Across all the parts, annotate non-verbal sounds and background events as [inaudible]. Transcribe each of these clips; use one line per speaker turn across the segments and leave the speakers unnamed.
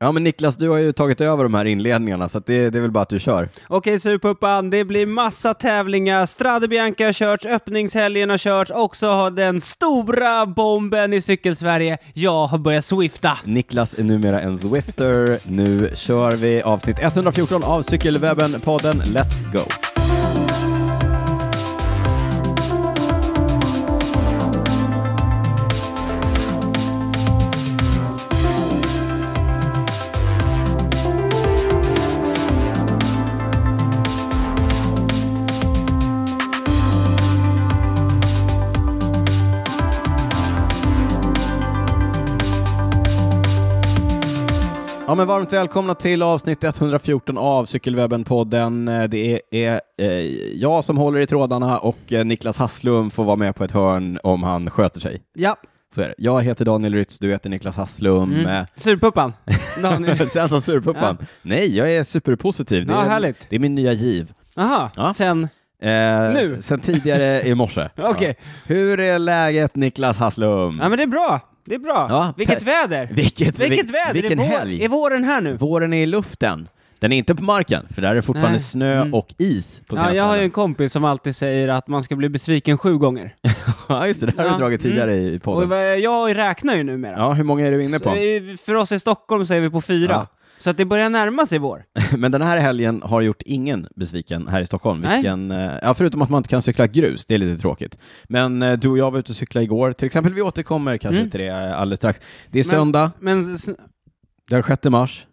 Ja men Niklas, du har ju tagit över de här inledningarna så att det, det är väl bara att du kör.
Okej surpuppan, det blir massa tävlingar. Strade Bianca har körts, öppningshelgen har körts och så har den stora bomben i cykelsverige, jag har börjat swifta.
Niklas är numera en Zwifter. Nu kör vi avsnitt 114 av Cykelwebben-podden. Let's go! Ja, men varmt välkomna till avsnitt 114 av Cykelwebben-podden. Eh, Det är eh, jag som håller i trådarna och eh, Niklas Hasslum får vara med på ett hörn om han sköter sig.
Ja.
Så är det. Jag heter Daniel Rytz, du heter Niklas Hasslum.
Mm. Surpuppan.
[laughs]
Daniel.
Det känns som surpuppan. Nej, jag är superpositiv. Det
Ja,
är,
härligt.
det är min nya giv.
Aha,
Ja.
sen...
Eh,
Nu?
Sen tidigare i morse.
[laughs] Okej.
Ja. Hur är läget Niklas Hasslum?
Ja men det är bra, det är bra.
Ja,
Vilket
pe-
väder!
Vilket,
Vilket
vil-
väder!
Vilken
är, vår,
helg!
är våren här nu?
Våren är i luften. Den är inte på marken, för där är det fortfarande
Nej.
snö
Mm.
och is på sina
Ja, jag har ju en
ställen.
kompis som alltid säger att man ska bli besviken sju gånger.
[laughs] Ja, just det. Det har
Ja, Mm.
du dragit tidigare i- i
Och
podden.
vad- jag räknar ju numera.
Ja, hur många är du inne
Så,
på?
eh, För oss i Stockholm så är vi på fyra.
Ja. [laughs]
Så att det börjar närma sig vår.
Men den här helgen har gjort ingen besviken här i Stockholm.
Nej.
Vilken, eh, ja, förutom att man inte kan cykla grus, det är lite tråkigt. Men eh, du och jag var ute och cyklade igår, till exempel. Vi återkommer kanske
Mm.
till det eh, alldeles strax. Det är
Men-
söndag,
Men, s- mm.
den 6 mars.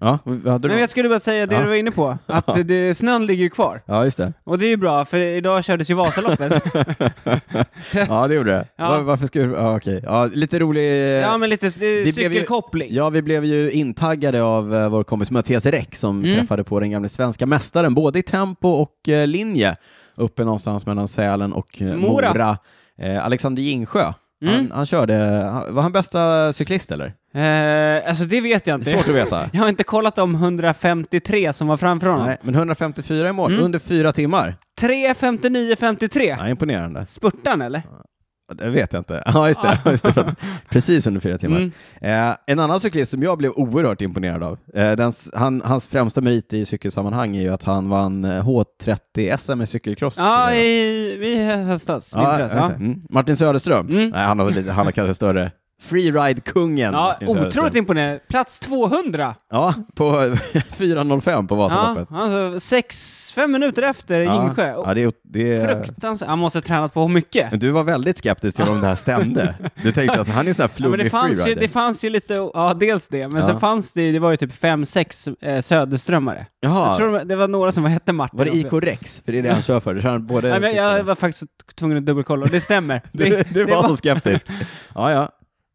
Ja, vad hade du
Nej,
då?
men jag skulle bara säga det
Ja.
du var inne på, att det, det, snön ligger ju kvar.
Ja, just det.
Och det är ju bra, för idag kördes ju Vasaloppet.
[laughs] Ja, det gjorde det.
Ja.
Var, varför skulle... Ja, okej. Ja, lite rolig...
ja, men lite
ju-
eh, cykelkoppling.
Ja, vi blev ju intaggade av eh, vår kompis Mattias Räck som
Mm.
träffade på den gamle svenska mästaren, både i tempo och eh, linje, uppe någonstans mellan Sälen och eh,
Mora.
Mora. Eh, Alexander Gingsjö. Han,
Mm.
han körde, han- var han bästa cyklist eller?
Eh, alltså det vet jag
Det
inte.
är svårt att
[laughs]
veta.
Jag har inte kollat de 153 som var framför honom.
Nej, men 154 i mål,
Mm.
under fyra timmar.
3.59,53. 53.
Ja, imponerande.
Spurtan eller?
Det vet jag inte. [laughs] Ja, just det. Just det för att,
[laughs]
precis under fyra timmar.
Mm.
Eh, en annan cyklist som jag blev oerhört imponerad av, eh, den, han, hans främsta merit i cykelsammanhang är ju att han vann eh, H30-SM i cykelcross. Eh,
Ja, i, i höstas,
Ja,
vintras.
just
Ja,
det. Mm. Martin Söderström,
Mm.
Nej, han, har lite, han har kanske större. Freeride-kungen.
ja.
Martin Söderström.
otroligt imponerande. Plats 200!
Ja, på [laughs] 4.05 på
Ja,
Vasaloppet.
alltså sex, fem minuter efter Gingsjö.
ja, det, är- det, är-
Fruktansvärt. Han måste ha tränat på mycket.
du var väldigt skeptisk till
[laughs]
om det här stämde. Du tänkte att alltså, han är en sån här
Ja, men
flummig
det, fanns ju,
freerider.
det fanns ju lite, ja dels det, men
Ja.
sen fanns det ju- det var ju typ fem, sex eh, söderströmmare. Jag
Jaha,
tror de- det var några som var, hette Martin.
var det IK Rex? För det är det han kör för. Du kör både
Nej, men jag
cykel-
var faktiskt tvungen att dubbelkolla och
[laughs]
det stämmer.
Du, du
det
var så
[laughs]
skeptisk. Ja, ja.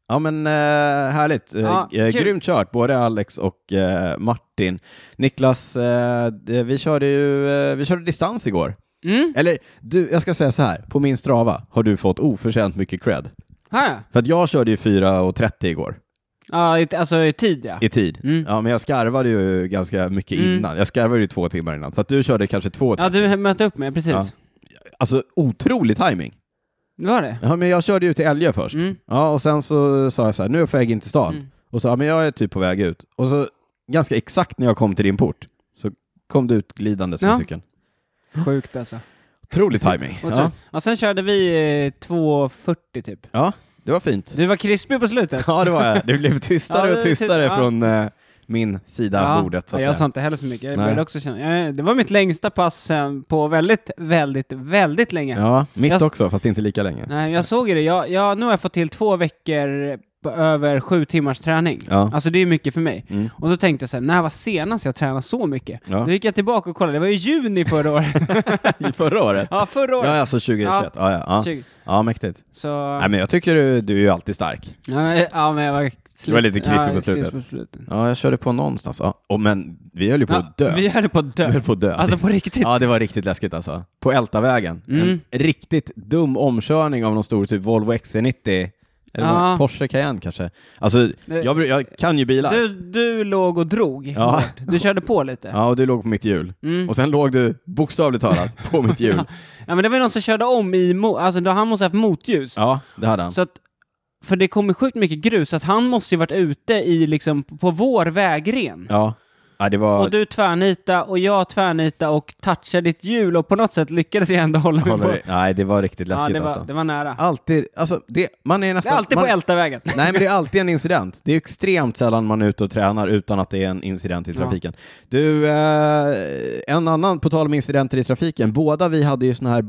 Ja, men eh, härligt. Eh,
Ja,
eh,
kul.
grymt kört, både Alex och eh, Martin. Niklas, eh, d- vi körde ju eh, vi körde distans igår.
Mm,
Eller du, jag ska säga så här. På min Strava har du fått oförtjänt mycket cred.
här.
För att jag körde ju 4.30 igår
Ja, i- alltså i tid ja.
i tid.
Mm.
Ja, men jag skarvade ju ganska mycket
Mm.
innan. Jag skarvade ju två timmar innan. Så att du körde kanske två timmar.
Ja, du mötte upp mig, precis.
Ja. Alltså, otrolig timing.
Det var det.
Ja, men jag körde ju till Älgö först.
Mm.
Ja, och sen så sa jag så här, nu är jag på väg in till stan.
Mm.
Och så, ja men jag är typ på väg ut. Och så ganska exakt när jag kom till din port så kom du ut glidandes med
Ja.
cykeln.
Sjukt alltså.
Otrolig timing.
Och, så, ja.
Ja.
sen körde vi eh, 2.40 typ.
ja, det var fint.
Du var krispig på slutet.
Ja, det var jag. Det blev
Ja,
tystare
det
och
var tyst-
tystare
ja.
från eh, min sida av bordet. Så att
ja, jag sa
säga.
inte heller så mycket. Jag
Nej.
började också känna. eh, Det var mitt längsta pass sen på väldigt, väldigt, väldigt länge.
Ja, mitt
Jag-
också, fast inte lika länge.
Nej, jag såg ju det. Jag, jag, nu har jag fått till två veckor på över sju timmars träning.
Ja.
Alltså det är mycket för mig.
Mm.
Och då tänkte jag så här, när var senast jag tränade så mycket?
Ja.
Då gick jag tillbaka och kollade, det var ju juni förra
[laughs]
året.
I förra året?
ja, förra
Ja,
året.
alltså 2021. Ja, ja, ja.
20.
ja mäktigt.
Så...
Nej, men jag tycker du, du är ju alltid stark.
Ja, men- ja, men jag var...
Du var lite krispig
ja,
på slutet.
krispig på slutet.
Ja, jag körde på någonstans. Ja. Och, men vi höll ju på
Ja,
att dö.
Vi höll på att
Vi
dö.
höll på att dö.
Alltså på riktigt.
[laughs] Ja, det var riktigt läskigt alltså. På Ältavägen.
Mm.
En riktigt dum omkörning av någon stor typ Volvo XC90. Eller
Ja.
vad- Porsche Cayenne kanske. Alltså,
Det-
jag, bru- jag kan ju bilar.
Du, du låg och drog
Ja.
hårt. Du körde på lite.
Ja, och du låg på mitt hjul.
Mm.
Och sen låg du bokstavligt
[laughs]
talat på mitt hjul.
Ja, men det var ju någon som körde om i... Mo- alltså då han måste ha haft motljus.
Ja, det hade han.
Så att För det kommer sjukt mycket grus, så att han måste ju varit ute i, liksom, på vår vägren.
Ja. ja, det var...
Och du tvärnita och jag tvärnita och touchade ditt hjul och på något sätt lyckades jag ändå hålla mig
Håller
på.
det- Nej, det var riktigt
Ja,
läskigt
det var,
alltså.
det var nära.
Alltid, alltså, det, man är
Det
nästan...
är alltid på
man...
Ältavägen.
Nej, men det är alltid en incident. Det är extremt sällan man är ute och tränar utan att det är en incident i
Ja.
trafiken. Du, eh, en annan, på tal om incidenter i trafiken, båda vi hade ju såna här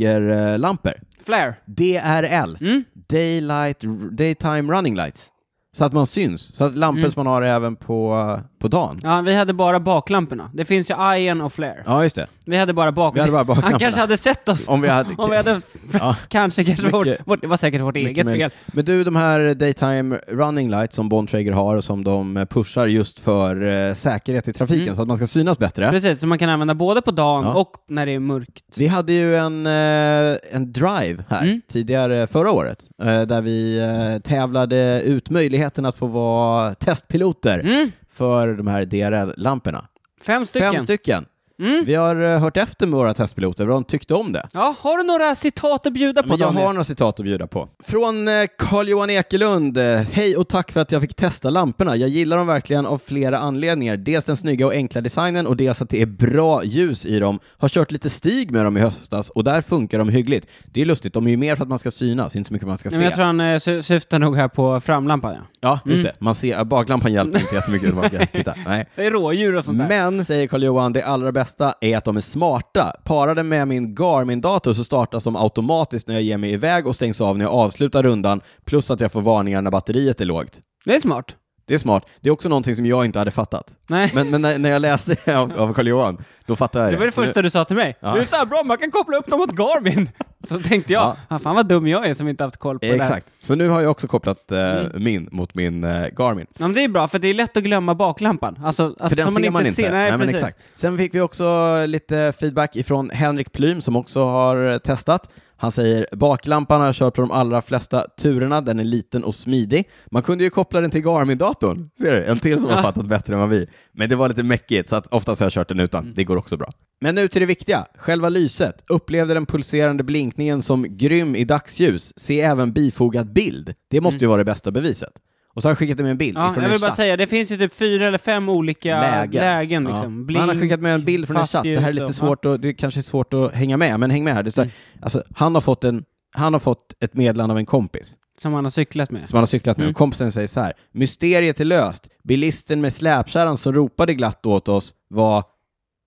Bontrager-lampor.
Flare.
DRL,
Mm.
Daylight, Daytime Running Lights. Så att man syns, så att
Mm.
lampor som man har även på, på dagen.
Ja, vi hade bara baklamporna. Det finns ju Iron och Flare.
Ja, just det.
Vi hade bara bak...
Vi hade bara baklamporna.
Han kanske hade sett oss.
Om vi hade-
[laughs] Om vi hade...
Ja.
Kanske, kanske. Vårt,
Mycket-
vårt, det var säkert vårt eget fel.
Mycket Men du, de här daytime running lights som Bontrager har och som de pushar just för eh, säkerhet i trafiken
Mm.
så att man ska synas bättre.
Precis, så man kan använda både på dagen
Ja.
och när det är mörkt.
Vi hade ju en, eh, en drive här
Mm.
tidigare förra året eh, där vi eh, tävlade ut möjligheten att få vara testpiloter
Mm.
för de här DRL-lamporna.
Fem stycken.
Fem stycken.
Mm.
Vi har eh, hört efter med våra testpiloter vad de tyckte om det.
Ja, har du några citat att bjuda på
Men jag
Daniel?
har några citat att bjuda på. Från eh, Carl-Johan Ekelund. eh, Hej och tack för att jag fick testa lamporna. Jag gillar dem verkligen av flera anledningar. Dels den snygga och enkla designen och dels att det är bra ljus i dem. Har kört lite stig med dem i höstas och där funkar de hyggligt. Det är lustigt, de är ju mer för att man ska synas, inte så mycket för att man ska
Nej, men jag
se.
tror han eh, sy- syftar nog här på framlampan. Ja.
Ja, just det. Man ser, baklampan hjälper inte jättemycket om man [laughs] ska titta. Nej.
Det är rådjur och sånt där.
Men, säger Carl-Johan, det allra bästa är att de är smarta. Parade med min Garmin-dator så startas de automatiskt när jag ger mig iväg och stängs av när jag avslutar rundan, plus att jag får varningar när batteriet är lågt.
Det är smart.
Det är smart. Det är också någonting som jag inte hade fattat.
Nej.
Men, men när, när jag läste [laughs] det av, av Carl-Johan, då fattade jag det.
det var det
Så nu-
första du sa till mig.
Ja.
Det är så här bra, man kan koppla upp dem mot Garmin. [laughs] Så tänkte jag,
Ja.
"Ah, fan vad dum jag är som inte haft koll på det här. Mm.
Exakt. Så nu har jag också kopplat eh, min mot min eh, Garmin.
Ja, men det är bra, för det är lätt att glömma baklampan. Alltså, att,
För den
som
ser man inte.
Ser. Nej,
men
precis.
exakt. Sen fick vi också lite feedback ifrån Henrik Plym som också har eh, testat. Han säger baklampan har jag kört på de allra flesta turerna, den är liten och smidig. Man kunde ju koppla den till Garmin-datorn. Ser du? En till som har
Ja.
fattat bättre än vad vi. Men det var lite mäckigt, så att oftast har jag kört den utan.
Mm.
Det går också bra. Men nu till det viktiga, själva lyset. Upplevde den pulserande blinkningen som grym i dagsljus. Se även bifogad bild. Det måste ju vara det bästa beviset. Och så har han skickat med en bild
Mm. Ja,
ifrån
jag
en
vill bara
chatt
säga, det finns ju typ fyra eller fem olika lägen.
Ja.
liksom.
Men han har
Blink,
skickat med en bild från en
fast
chatt. Det här är
ljus
lite
och-
svårt och, det kanske är svårt att hänga med, men häng med här. Det står,
Mm.
alltså, han, har fått en, han har fått ett meddelande av en kompis
som han har cyklat med.
som han har cyklat med.
Mm.
Och kompisen säger så här. Mysteriet är löst. Bilisten med släpkärran som ropade glatt åt oss var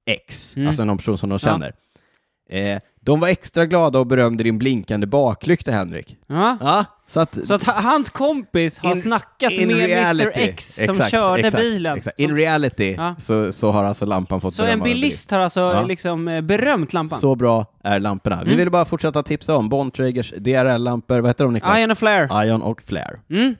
X,
Mm.
alltså någon person som de känner. Eh, de var extra glada och berömde din blinkande baklykta, Henrik.
Ja.
Ja, så att,
Så att ha- hans kompis har
In-
snackat
in
med Mr
reality.
X som
Exakt,
körde
exakt,
bilen.
Exakt.
Som-
In reality
Ja.
så, så har alltså lampan fått
Så en
beröm av
bilist har alltså
Ja.
liksom eh, berömt lampan? Mm.
Så bra är lamporna. Vi ville bara fortsätta tipsa om Bontragers DRL-lampor, vad heter de Niklas?
Iron och Flare.
Ion och Flare.
Mm.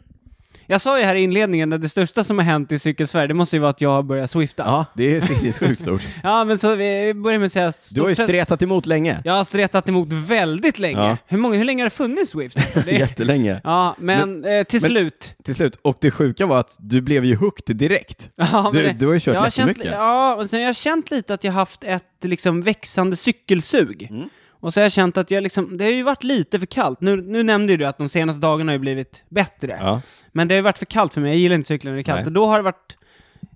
Jag sa ju här i inledningen att det största som har hänt i Cykelsverige, det måste ju vara att jag har börjat swifta. Ja,
Ja, det är sinnessjukt
[laughs]
stort.
men så vi vi börjar med att säga...
Du har ju stretat emot länge.
Jag har stretat emot väldigt länge.
Ja.
Hur, många, hur länge har det
[laughs]
funnits Swift? Alltså, det,
Jättelänge.
ja, men, eh, till
men-
slut.
Till slut, och det sjuka var att du blev ju hooked direkt.
[laughs] Ja,
Du-
men det-
du har ju kört
jag
jättemycket.
Känt, ja, och sen har jag känt lite att jag haft ett liksom växande cykelsug.
Mm.
Och så har jag känt att jag liksom, det har ju varit lite för kallt. Nu, nu nämnde ju du att de senaste dagarna har ju blivit bättre.
Ja.
Men det har ju varit för kallt för mig, jag gillar inte cykla när det är kallt.
Nej.
Och då har det varit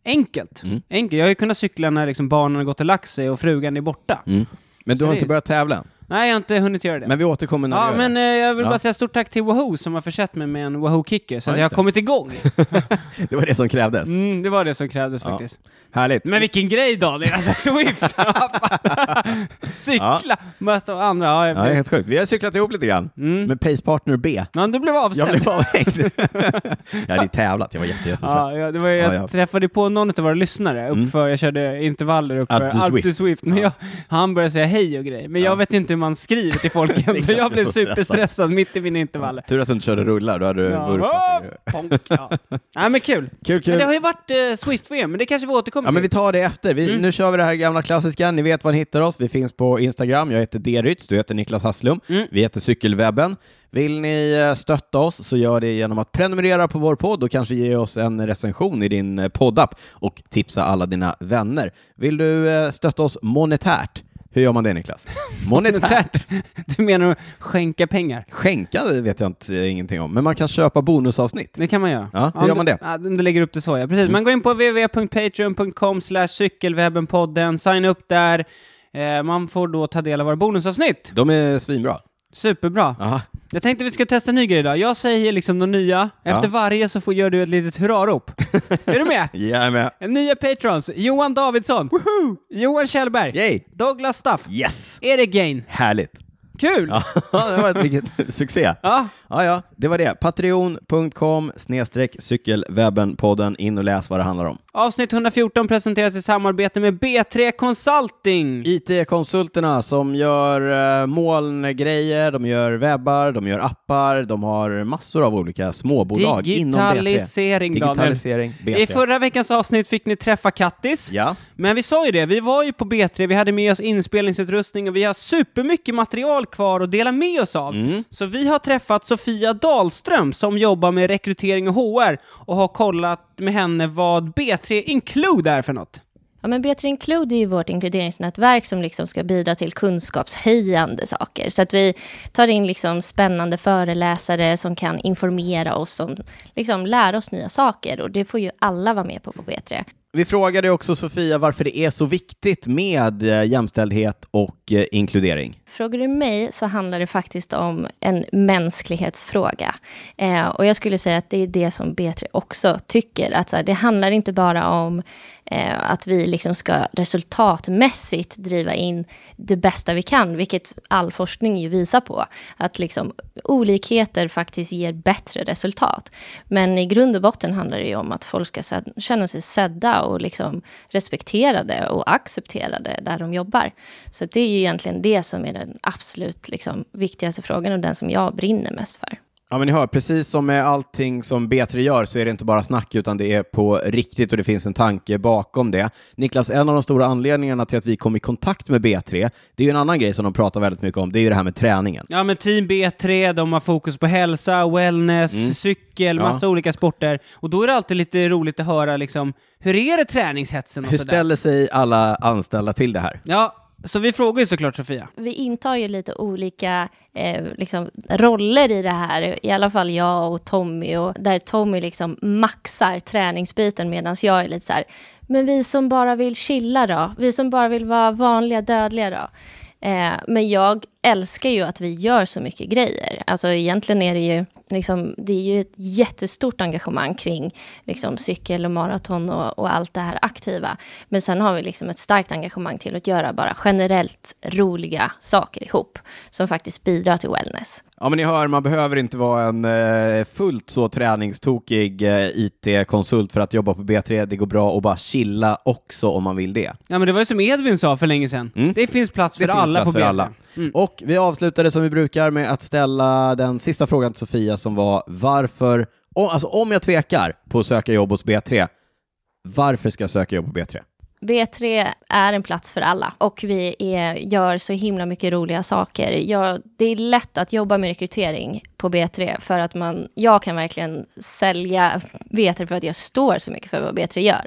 enkelt.
Mm.
enkelt. Jag har ju kunnat cykla när liksom barnen har gått och lagt sig och frugan är borta.
Mm. Men du har
det
inte
är-
börjat tävla än.
Nej, jag har inte hunnit göra det.
Men vi återkommer när
ja,
du gör
men eh, jag vill
Ja.
bara säga stort tack till Wahoo som har försett mig med en Wahoo-kicker så
Ja,
att jag har
just det.
kommit igång.
[laughs] det. Det var det som krävdes.
Mm, det var det som krävdes
Ja.
faktiskt.
Härligt.
Men vilken grej Daniel,
[laughs]
alltså Swift! Cykla, möta andra. Ja, jag
Ja, det är
blev...
helt sjukt. Vi har cyklat ihop lite grann
Mm.
med Pace Partner B.
ja, du blev avställd.
Jag blev avhängd.
[laughs]
jag hade ju tävlat, jag var jätte, jättetrött.
Ja, ja, det var, ju-
Ja,
jag
ja.
träffade på någon av våra lyssnare uppför, jag körde intervaller uppför
Up to
Up
Swift.
to Swift, men
Ja.
jag, han började säga hej och grejer, men
Ja.
jag vet inte hur man skriver
[laughs]
till folk än, så
kanske
jag blev
är så stressad.
superstressad mitt i mina intervaller.
Tur att du inte körde rullar, då hade du
Ja,
vurpat.
hopp, honk, ja. Nej men kul.
Kul,
Men
kul.
det har ju varit eh, Swift-VM, men det kanske vi återkommer
Ja, men vi
[laughs] till.
tar det efter. Vi, Nu kör vi det här gamla klassiska. Ni vet var ni hittar oss. Vi finns på Instagram. Jag heter Derytz, du heter Niklas Hasslum.
Mm.
Vi heter Cykelwebben. Vill ni eh, stötta oss så gör det genom att prenumerera på vår podd och kanske ge oss en recension i din eh, poddapp och tipsa alla dina vänner. Vill du eh, stötta oss monetärt? Hur gör man det Niklas? Monetärt? [laughs]
Monetärt. Du menar att skänka pengar?
Skänka det vet jag inte, eh, ingenting om, men man kan köpa bonusavsnitt.
Det kan man göra.
Ja, hur
om
gör man
du,
det?
ja, Om du lägger upp det så, ja. Precis. Man går in på www.patreon.com slash cykelwebbenpodden, signa upp där. Eh, man får då ta del av våra bonusavsnitt.
De är svinbra.
Superbra.
Aha.
Jag tänkte vi ska testa en ny grej idag. Jag säger liksom de nya. Efter
Ja.
varje så får, gör du ett litet
[laughs]
hurrarop. är du med?
Jag är med.
Nya patrons. Johan Davidsson. Johan Kjellberg.
Yay!
Douglas Staff.
Yes!
Erik Gain.
Härligt.
Kul!
Ja, [laughs] det var ett vilket [laughs] succé.
Ja,
Ja, ja, det var det. Patreon.com snedstreck cykelwebben-podden. In och läs vad det handlar om.
Avsnitt 114 presenteras i samarbete med B3 Consulting.
IT-konsulterna som gör eh, molngrejer, de gör webbar, de gör appar, de har massor av olika småbolag inom B3.
Digitalisering, Daniel.
Digitalisering, B3.
I förra veckans avsnitt fick ni träffa Kattis.
Ja,
Men vi sa ju det, vi var ju på B3, vi hade med oss inspelningsutrustning och vi har supermycket material kvar att dela med oss av.
Mm.
Så vi har träffat Sofia Dahlström som jobbar med rekrytering och HR och har kollat med henne vad B3 Include är för något.
Ja, men Better Include är ju vårt inkluderingsnätverk som liksom ska bidra till kunskapshöjande saker. Så att vi tar in liksom spännande föreläsare som kan informera oss, som liksom lär oss nya saker. Och det får ju alla vara med på på B3.
vi frågade också Sofia varför det är så viktigt med eh, jämställdhet och eh, inkludering.
Frågar du mig så handlar det faktiskt om en mänsklighetsfråga. Eh, och jag skulle säga att det är det som B3 också tycker. Att så här, det handlar inte bara om eh, att vi liksom ska resultatmässigt driva in det bästa vi kan, vilket all forskning ju visar på. Att liksom olikheter faktiskt ger bättre resultat. Men i grund och botten handlar det ju om att folk ska sed- känna sig sedda och liksom respekterade och accepterade där de jobbar. Så det är ju egentligen det som är den absolut liksom, viktigaste frågan och den som jag brinner mest för.
Ja, men ni hör, precis som med allting som B3 gör så är det inte bara snack, utan det är på riktigt och det finns en tanke bakom det. Niklas, en av de stora anledningarna till att vi kom i kontakt med B3, det är ju en annan grej som de pratar väldigt mycket om, det är ju det här med träningen.
Ja men Team B3, de har fokus på hälsa, wellness, cykel,
Mm. Ja.
massa olika sporter. Och då är det alltid lite roligt att höra liksom, hur är Alltså det träningshetsen och
Hur
sådär?
ställer sig alla anställda till det här?
Ja, så vi frågar ju såklart Sofia.
Vi intar ju lite olika eh, liksom, roller i det här, i alla fall jag och Tommy, och där Tommy liksom maxar träningsbiten medan jag är lite så här, men vi som bara vill chilla då, vi som bara vill vara vanliga dödliga då. Eh, men jag älskar ju att vi gör så mycket grejer. Alltså egentligen är det ju, liksom, det är ju ett jättestort engagemang kring liksom, cykel och maraton och, och allt det här aktiva. Men sen har vi liksom ett starkt engagemang till att göra bara generellt roliga saker ihop som faktiskt bidrar till wellness.
Ja, men ni hör, man behöver inte vara en eh, fullt så träningstokig eh, IT-konsult för att jobba på B3. Det går bra att bara chilla också om man vill det.
Ja men det var ju som Edvin sa för länge sedan. Det finns plats för
Mm. Det finns
alla
plats
på Mm.
för
B3.
alla. Och vi avslutade som vi brukar med att ställa den sista frågan till Sofia som var varför, om, alltså om jag tvekar på att söka jobb hos B3, varför ska jag söka jobb på B3?
B3 är en plats för alla och vi är, gör så himla mycket roliga saker. Jag, det är lätt att jobba med rekrytering på B3 för att man, jag kan verkligen sälja B3 för att jag står så mycket för vad B3 gör.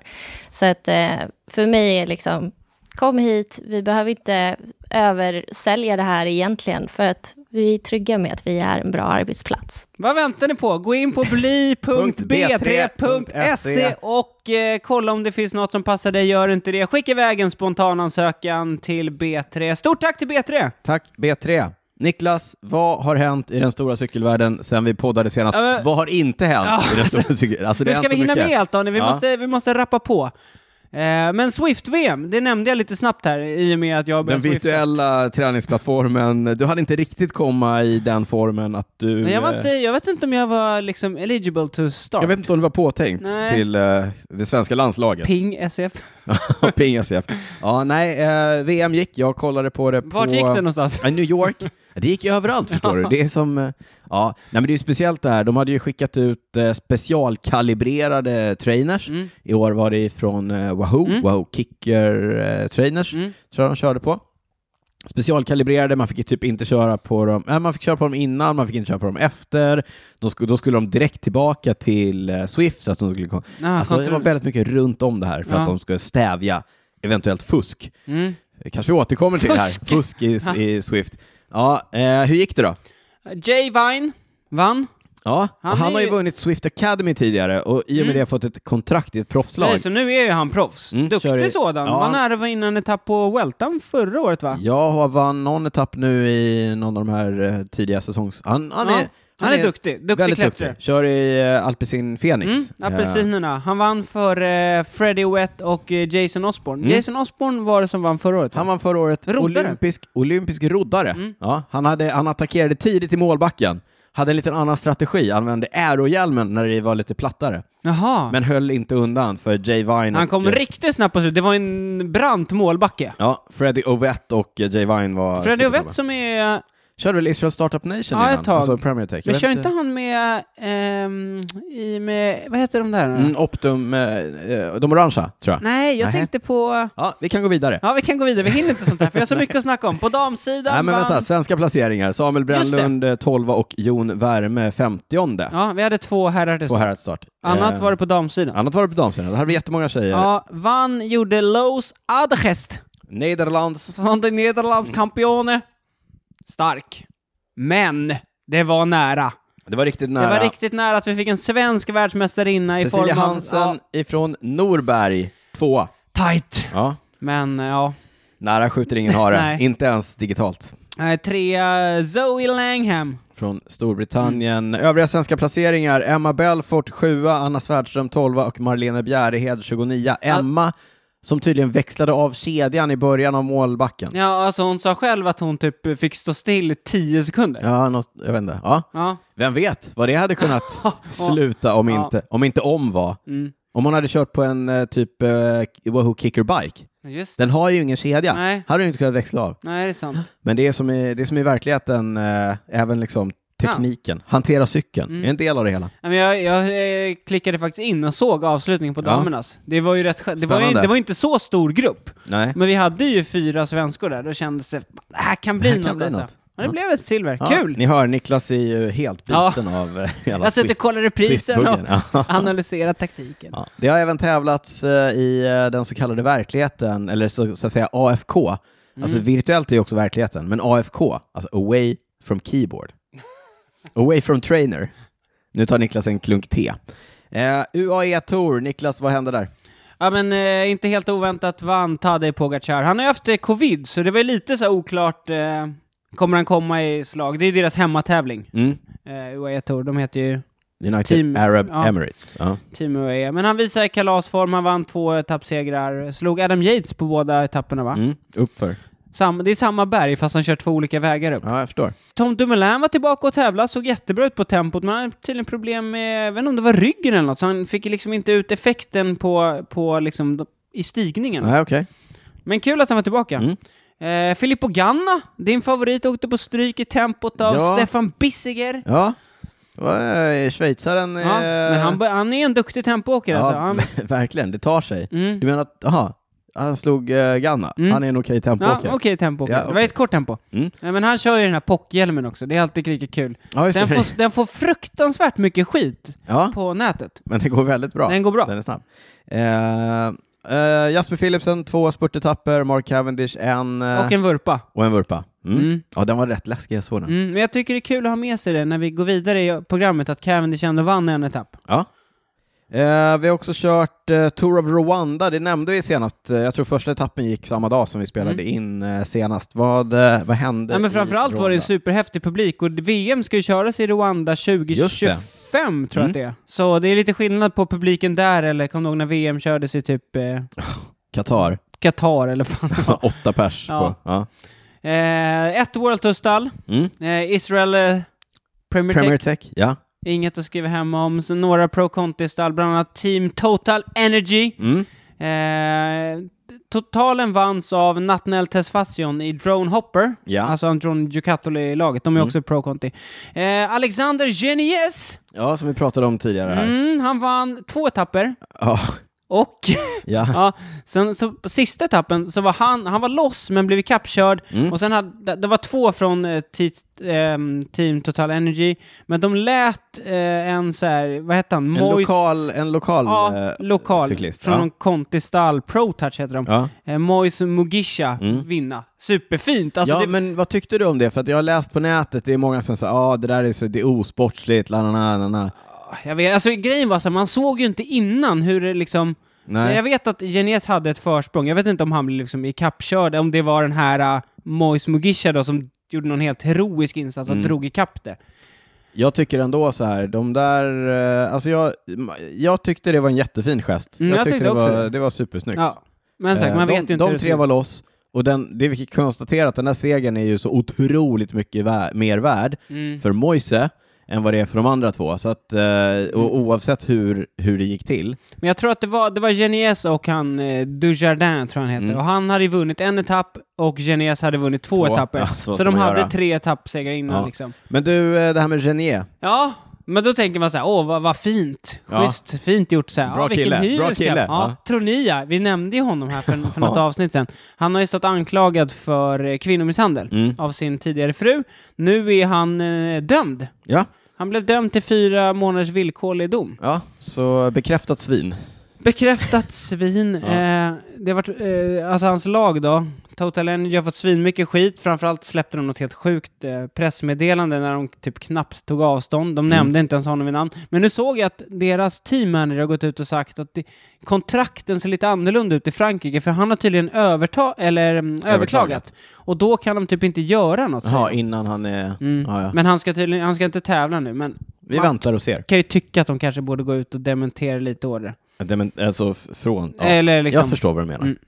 Så att eh, för mig är liksom, kom hit, vi behöver inte översälja det här egentligen för att vi är trygga med att vi är en bra arbetsplats.
Vad väntar ni på? Gå in på bli.b3.se e
e.
och eh, kolla om det finns något som passar dig. Gör inte det, skicka iväg en spontanansökan till B3. Stort tack till B3!
Tack B3. Niklas, vad har hänt i den stora cykelvärlden sen vi poddade senast?
Ja, men-
vad har inte hänt
Ja,
i den stora cykelvärlden? Alltså, det
[laughs] Hur
har
ska vi
hänt så
hinna
mycket.
med allt Daniel? Vi,
Ja.
måste, vi måste rappa på. Eh, men Swift-VM, det nämnde jag lite snabbt här i och med att jag
Den
började Swifta.
virtuella träningsplattformen, du hade inte riktigt komma i den formen att du...
Men jag, var
eh,
inte, jag vet inte om jag var liksom eligible to start.
jag vet inte om du var påtänkt
Nej.
till eh, det svenska landslaget.
Ping E SF.
[laughs] Ping SF. Ja, nej, eh, VM gick, jag kollade på det
Vart
på...
gick den någonstans?
Ja, New York. Det gick ju överallt förstår du. Det är som, eh, ja, nej men det är ju speciellt det här. De hade ju skickat ut eh, specialkalibrerade trainers.
Mm.
I år var det från eh, Wahoo,
Mm.
Wahoo Kicker eh, trainers,
Mm.
tror jag de körde på. Specialkalibrerade, man fick ju typ inte köra på dem, nej, man fick köra på dem innan, man fick inte köra på dem efter. Då, sk- då skulle de direkt tillbaka till eh, Swift så att de skulle komma.
Ah,
Alltså, det var
kontroll-
väldigt mycket runt om det här för
Ja.
att de ska stävja eventuellt fusk.
mm.
Det kanske vi återkommer till
Fusk.
här. Fusk i, i Swift. Ja, eh, hur gick det då?
Mm. Jay Vine vann.
Ja,
Han
och han
är
har ju
ju-
vunnit Swift Academy tidigare och i och med det fått ett kontrakt i ett proffslag.
Nej, så nu är ju han proffs.
Mm, kör i-
Duktig sådan.
Ja.
Var nära att vinna en etapp på Weltan förra året va?
Jag har vann någon etapp nu i någon av de här eh, tidiga säsongs... Han, han,
Ja,
är,
han är duktig. Duktig
väldigt
klättrare.
duktig. Kör i eh, Alpecin Phoenix.
Mm, apelsinerna. Han vann för eh, Freddie Wett och eh, Jason Osborne.
Mm.
Jason Osborne var det som vann förra året. va?
Han vann förra året
Roddare.
olympisk, olympisk roddare.
Mm.
Ja, han, hade, han attackerade tidigt i målbacken, hade en liten annan strategi, använde aerohjälmen när det var lite plattare,
Jaha.
men höll inte undan för Jay Vine
han
och,
kom
eh,
riktigt snabbt på slutet. Det var en brant målbacke.
Ja, Freddy Ovett och eh, Jay Vine var
Freddie
supernova.
Wett som är...
Körde väl Israel Startup Nation
Ja,
innan?
ett tag.
Alltså Premier Tech. Jag
Men
vet
kör inte han med... ehm, i med... Vad heter de där? nu?
Mm, Optum, eh, eh, de orangea, tror jag.
Nej, jag
Nähä.
tänkte på...
Ja, vi kan gå vidare.
Ja, vi kan gå vidare. Vi hinner inte sånt här, för jag har så mycket att snacka om. På damsidan
Nej men
vann...
vänta, svenska placeringar. Samuel
Just det.
Brännlund eh, 12 och Jon Värme 50
Ja, vi hade två herrar till
på
start.
herrat start.
Annat
Eh,
var det på damsidan.
Annat var det på damsidan. Det hade vi jättemånga tjejer.
Ja, vann gjorde Loos Adgest
Nederlands.
från de Nederlands kampione. Stark. Men det var nära.
Det var riktigt nära.
Det var riktigt nära att vi fick en svensk världsmästarinna i
Cecilia
form av...
Hansen
Ja,
ifrån Norberg, tvåa.
tight.
Ja.
Men ja.
Nära skjuter ingen hare,
[laughs] Nej.
inte ens digitalt.
Eh, Trea Zoe Langham.
Från Storbritannien.
Mm.
Övriga svenska placeringar, Emma Belfort 7, Anna Svärdström 12 och Marlene Bjärehed 29. Emma, som tydligen växlade av kedjan i början av målbacken. Ja,
Ja, alltså hon sa själv att hon typ fick stå still i tio sekunder. Ja.
något, jag vet inte. Ja. Vem vet vad det hade
[laughs]
kunnat sluta om
Ja.
inte, om inte om var.
Mm.
Om hon hade kört på en eh, typ eh, Wahoo Kicker Bike.
Just det.
Den har ju ingen kedja.
Nej.
Hade du inte kunnat växla av.
Nej, det är sant.
Men det är som i, det är som i verkligheten, eh, även liksom tekniken, hantera cykeln,
Mm.
är en del av det hela.
Nej, men Jag, jag eh, klickade faktiskt in och såg avslutningen på
Ja.
damernas. Det var ju rätt skö- det var ju,
Spännande.
det var ju inte så stor grupp.
Nej.
Men vi hade ju fyra svenskor där, då kändes det, "Fan, det här kan bli
Det här
något
kan bli
alltså.
något.
Ja, det
Ja.
blev ett silver.
Ja,
Kul!
Ni hör, Niklas är ju helt
Ja.
biten av eh, hela
Jag sitter och
Swift-
kollar reprisen och
Swift-buggen. Ja.
[laughs] analyserat taktiken.
Ja. Det har även tävlats eh, i eh, den så kallade verkligheten, eller så, så att säga AFK.
Mm.
Alltså virtuellt är ju också verkligheten, men AFK, alltså away from
[laughs]
keyboard. away from trainer. Nu tar Niklas en klunk te. Eh, UAE Tour, Niklas, vad hände där?
Ja men eh, inte helt oväntat vann Tadej Pogacar. Han har ju haft eh, covid, så det var ju lite så här oklart. Eh, kommer han komma i slag? Det är ju deras hemmatävling,
Mm.
eh, UAE Tour. De heter ju
United
Team-
Arab
ja.
Emirates. Ja.
Team UAE. Men han visar i kalasform, han vann två etappsegrar. Slog Adam Yates på båda etapperna va?
Mm. Uppför.
Sam, det är samma berg fast han kör två olika vägar upp.
Ja, jag förstår.
Tom Dumoulin var tillbaka och tävlade, såg jättebra ut på tempot, men han hade tydligen problem med, jag vet inte om det var ryggen eller något, så han fick liksom inte ut effekten på, på liksom, de- i stigningen.
Nej, okej.
Men kul att han var tillbaka.
Mm.
Eh, Filippo Ganna, din favorit, åkte på stryk i tempot av
Ja.
Stefan Bissiger.
Ja. Det var, eh, Schweizaren...
Ja,
eh,
men han, bör- han är en duktig tempoåkare
ja,
alltså. Han,
[laughs] verkligen, det tar sig.
mm.
Du menar att, aha, han slog eh, Ganna.
Mm.
Han är en okej
Ja,
tempoåkare.
okej tempoåkare.
Ja,
Det var
okej.
ett kort tempo.
Mm.
Eh, Men han kör ju den här pockhjälmen också, det är alltid lika kul.
Ja, just
Den
det.
får, den får fruktansvärt mycket skit
[laughs] Ja,
på nätet.
men det går väldigt bra.
Den går bra.
Den är snabb. Eh, eh, Jasper Philipsen, två spurtetapper, Mark Cavendish, en eh,
Och en vurpa.
och en vurpa. Mm.
Mm.
Ja, den var rätt läskig, jag såg den.
Mm, men jag tycker det är kul att ha med sig det när vi går vidare i programmet, att Cavendish ändå vann en etapp.
Ja. Eh, vi har också kört eh, Tour of Rwanda, det nämnde vi senast. Eh, Jag tror första etappen gick samma dag som vi spelade
Mm.
in eh, senast. Vad, eh, vad hände?
Nej, men
i
framförallt var det en
Rwanda?
superhäftig publik och VM ska ju köras i Rwanda 2025 tror jag
Mm.
att det är. Så det är lite skillnad på publiken där eller kom du ihåg när VM kördes i typ eh,
Qatar,
Qatar eller fan.
[laughs] åtta pers
[laughs] Ja.
på. Ja.
eh, ett World Tour stall,
Mm.
eh, Israel eh, Premier,
Premier
Tech,
Tech, ja.
inget att skriva hem om. Så några Pro Conti stall, bland annat Team Total Energy.
Mm.
Eh, totalen vanns av Nathaniel Tesfacion i Drone Hopper,
Ja. Mm.
alltså Andron Giocattoli i laget, de är också Pro Conti. Eh, Alexander Genies,
ja, som vi pratade om tidigare här.
mm, han vann två etapper.
Ja.
Och
[laughs] Ja.
ja, sen så, på sista etappen så var han, han var loss men blev ikappkörd.
Mm.
Och sen hade, det- det var två från eh, ti, ehm, Team Total Energy, men de lät eh, en så här, vad hette han?
En lokal, en lokal,
ja,
eh,
lokal
cyklist.
från
Ja.
någon Contistal Pro Touch heter de.
Ja. Mm.
Eh, Moise Mugisha vinna. Superfint! Alltså
ja,
det,
men vad tyckte du om det? För att jag har läst på nätet, det är många som säger ja, ah, det där är, så, det är osportsligt, la, la, la, la, la.
jag vet, alltså, grejen var så här, man såg ju inte innan hur det liksom...
Nej.
Jag vet att Genes hade ett försprång, jag vet inte om han blev liksom ikappkörd, om det var den här uh, Moise Mugisha då som gjorde någon helt heroisk insats och
Mm.
drog ikapp det.
Jag tycker ändå så här, de där, eh, alltså jag, jag tyckte det var en jättefin gest.
Mm, jag tyckte
det
också
var,
det.
det var supersnyggt.
Ja. Men sagt,
Eh,
man
de,
vet ju inte hur
De
det
tre
ser
var
ut.
loss, och den, det vi kan konstatera att den här segern är ju så otroligt mycket vä- mer värd
Mm.
för Moise än vad det är för de andra två. Så att, eh, och, oavsett hur, hur det gick till.
Men jag tror att det var, det var Genies och han eh, Dujardin, tror jag han hette, och han hade ju vunnit en etapp och Genies hade vunnit två,
Mm. Två.
etapper.
Ja, så
så
ska
de
man
hade
göra.
tre etappsegrar innan
Ja.
liksom.
Men du, eh, det här med Genier.
Ja, men då tänker man så här, åh vad, vad fint,
Ja.
schysst, fint gjort så här.
Bra
ja, vilken
kille, bra
hyrisk jävel.
kille.
Ja,
Ja.
Tror ni ja, vi nämnde ju honom
[laughs]
här för, för något avsnitt sen. Han har ju stått anklagad för eh, kvinnomisshandel
Mm.
av sin tidigare fru. Nu är han eh, dömd.
Ja.
Han blev dömd till fyra månaders villkorlig dom.
ja, så bekräftat svin.
Bekräftat svin. Eh, det har varit, eh, alltså hans lag då, Total Energy har fått svinmycket skit. Framförallt släppte de något helt sjukt eh, pressmeddelande när de typ knappt tog avstånd.
Mm.
De nämnde inte ens honom vid namn. Men nu såg jag att deras teammanager har gått ut och sagt att det, kontrakten ser lite annorlunda ut i Frankrike för han har tydligen överta- eller, mm, överklagat.
Överklagat.
Och då kan de typ inte göra något. säger
Ja,
de.
innan han är...
Mm.
Ja, ja.
Men han ska tydligen, han ska inte tävla nu. Men
Vi
man
väntar och ser.
kan ju tycka att de kanske borde gå ut och dementera lite order.
Ja, Men, alltså f- från... Ja.
Eller liksom...
Jag förstår vad du menar.
Mm.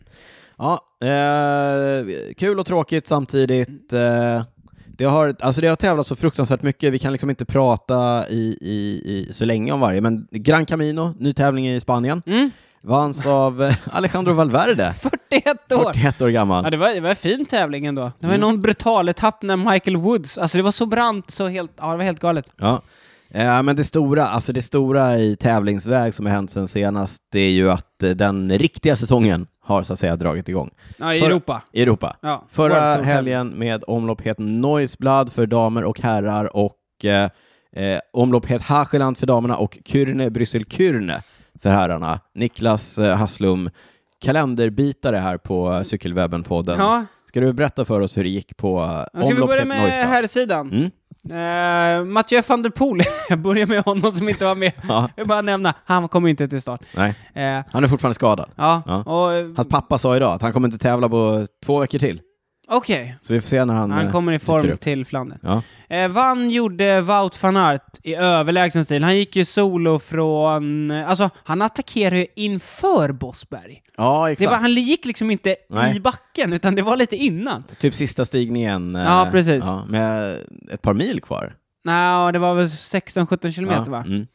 Ja, eh, kul och tråkigt samtidigt. Eh, det, har, alltså det har tävlat så fruktansvärt mycket, vi kan liksom inte prata i, i, i, så länge om varje, men Gran Camino, ny tävling i Spanien,
Mm.
vanns av eh, Alejandro
[laughs]
Valverde,
41 år!
41 år
Ja,
gammal.
det var, det var en fin tävling ändå. Det var ju någon brutal etapp när Michael Woods, alltså det var så brant så helt, ja det var helt galet.
Ja. Eh, men det stora, alltså det stora i tävlingsväg som har hänt sen senast, det är ju att eh, den riktiga säsongen har så att säga dragit igång.
Ja, i
För-
Europa.
I Europa.
Ja, World
Förra
Tour.
helgen med omlopp het Noisblad för damer och herrar och eh, eh, omlopp het Hageland för damerna och Kyrne Bryssel Kyrne för herrarna. Niklas eh, Hasslum, kalenderbitare här på eh, Cykelwebben-podden.
Ja,
Ska du berätta för oss hur det gick på
men
eh,
ska vi
omlopp
börja
het
med
Noisblad?
herrsidan?
Mm?
Uh, Mathieu van der Poel, [laughs] jag börjar med honom som inte var med.
Ja,
Jag vill bara nämna, han kom inte till start.
nej.
Eh,
Han är fortfarande skadad.
ja,
Ja.
och... eh,
Hans pappa sa idag att han kommer inte tävla på två veckor till.
Okej,
Så vi får se när han...
han
eh,
kommer i
dyker
form
upp.
till Flandern.
Ja.
Eh, vann gjorde Wout van Aert i överlägsen stil. Han gick ju solo från... Alltså, han attackerade ju inför Bosberg.
ja,
Det
exakt.
var, han gick liksom inte i
Nej.
backen, utan det var lite innan.
Typ sista stigningen. eh,
Ja, precis.
ja, med ett par mil kvar.
Nej, det var väl 16-17 kilometer va?
Mm.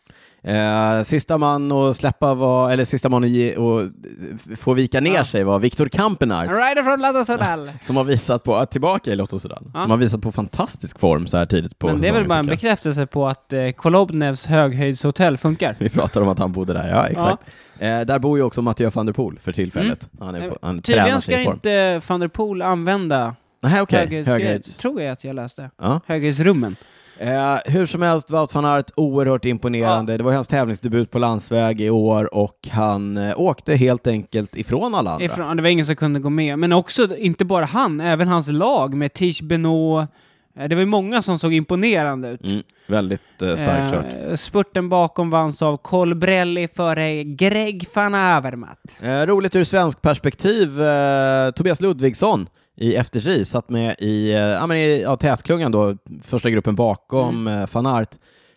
Eh, sista man att släppa var, eller sista man att ge, och f- få vika ner
Ja.
sig var Viktor Kampenarts.
A rider från Lada Sodal.
Som har visat på, tillbaka i Lotto Sudan,
Ja.
som har visat på fantastisk form så här tidigt på
Men det är väl
säsongen,
bara en
tycker jag.
bekräftelse på att eh, Kolobnevs höghöjdshotell funkar.
Vi pratar om att han bodde där, ja exakt. Eh, där bor ju också Mathieu van der Poel för tillfället. Han, är på, han tränar
Mm. Eh, Tydligen ska
sig i form.
inte van der Poel använda
Nej, okej.
höghöjds...
Höghöjds.
Tror jag att jag läste.
Ja.
Höghöjdsrummen.
Eh, hur som helst, Wout van Aert oerhört imponerande. Det var ju hans tävlingsdebut på landsväg i år och han eh, åkte helt enkelt ifrån alla andra.
Ifrån, det var ingen som kunde gå med. Men också, inte bara han, även hans lag med Tish Benoit. Eh, Det var ju många som såg imponerande ut.
Mm, väldigt eh, starkt kört.
Eh, spurten bakom vanns av Colbrelli före Greg van Avermaet.
Eh, roligt ur svensk perspektiv. Eh, Tobias Ludvigsson i FTJ satt med i, eh, ja, men i ja, tätklungan då, första gruppen bakom
Mm.
eh, van Aert.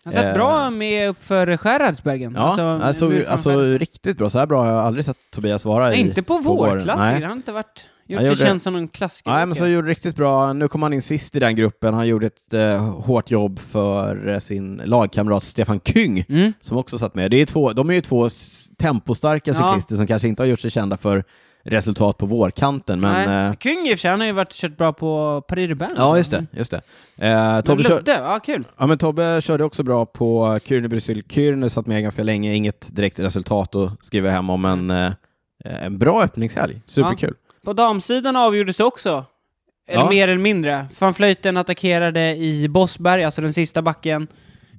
Han satt
Eh,
bra med upp för Gerhardsbergen.
Ja, alltså,
nu
alltså,
fan Gerhard-
riktigt bra. Så här bra har jag aldrig sett Tobias vara
Nej,
i
inte på
våren.
vårklassiker.
Nej.
Han har inte varit... Gjort
Han
sig
gjorde-
känd som någon klassiker.
Nej, men så gjorde riktigt bra. Nu kom han in sist i den gruppen. Han gjorde ett eh, hårt jobb för eh, sin lagkamrat Stefan Kyng,
Mm.
som också satt med. Det är två, de är ju två s- tempostarka
Ja.
cyklister som kanske inte har gjort sig kända för resultat på vårkanten. Men,
Nej.
eh,
Kung i och för sig, han har ju varit kört bra på Paris Urbain.
ja, just det. Just det. Eh,
Men
Tobbe, kör,
Ludde, ja kul.
ja, men Tobbe körde också bra på Kyrne Bryssel. Kyrne satt med ganska länge, inget direkt resultat att skriva hem om, men eh, en bra öppningshelg. Superkul.
På damsidan avgjordes det också. Eller
Ja.
mer eller mindre. Van Vleuten attackerade i Bossberg, alltså den sista backen.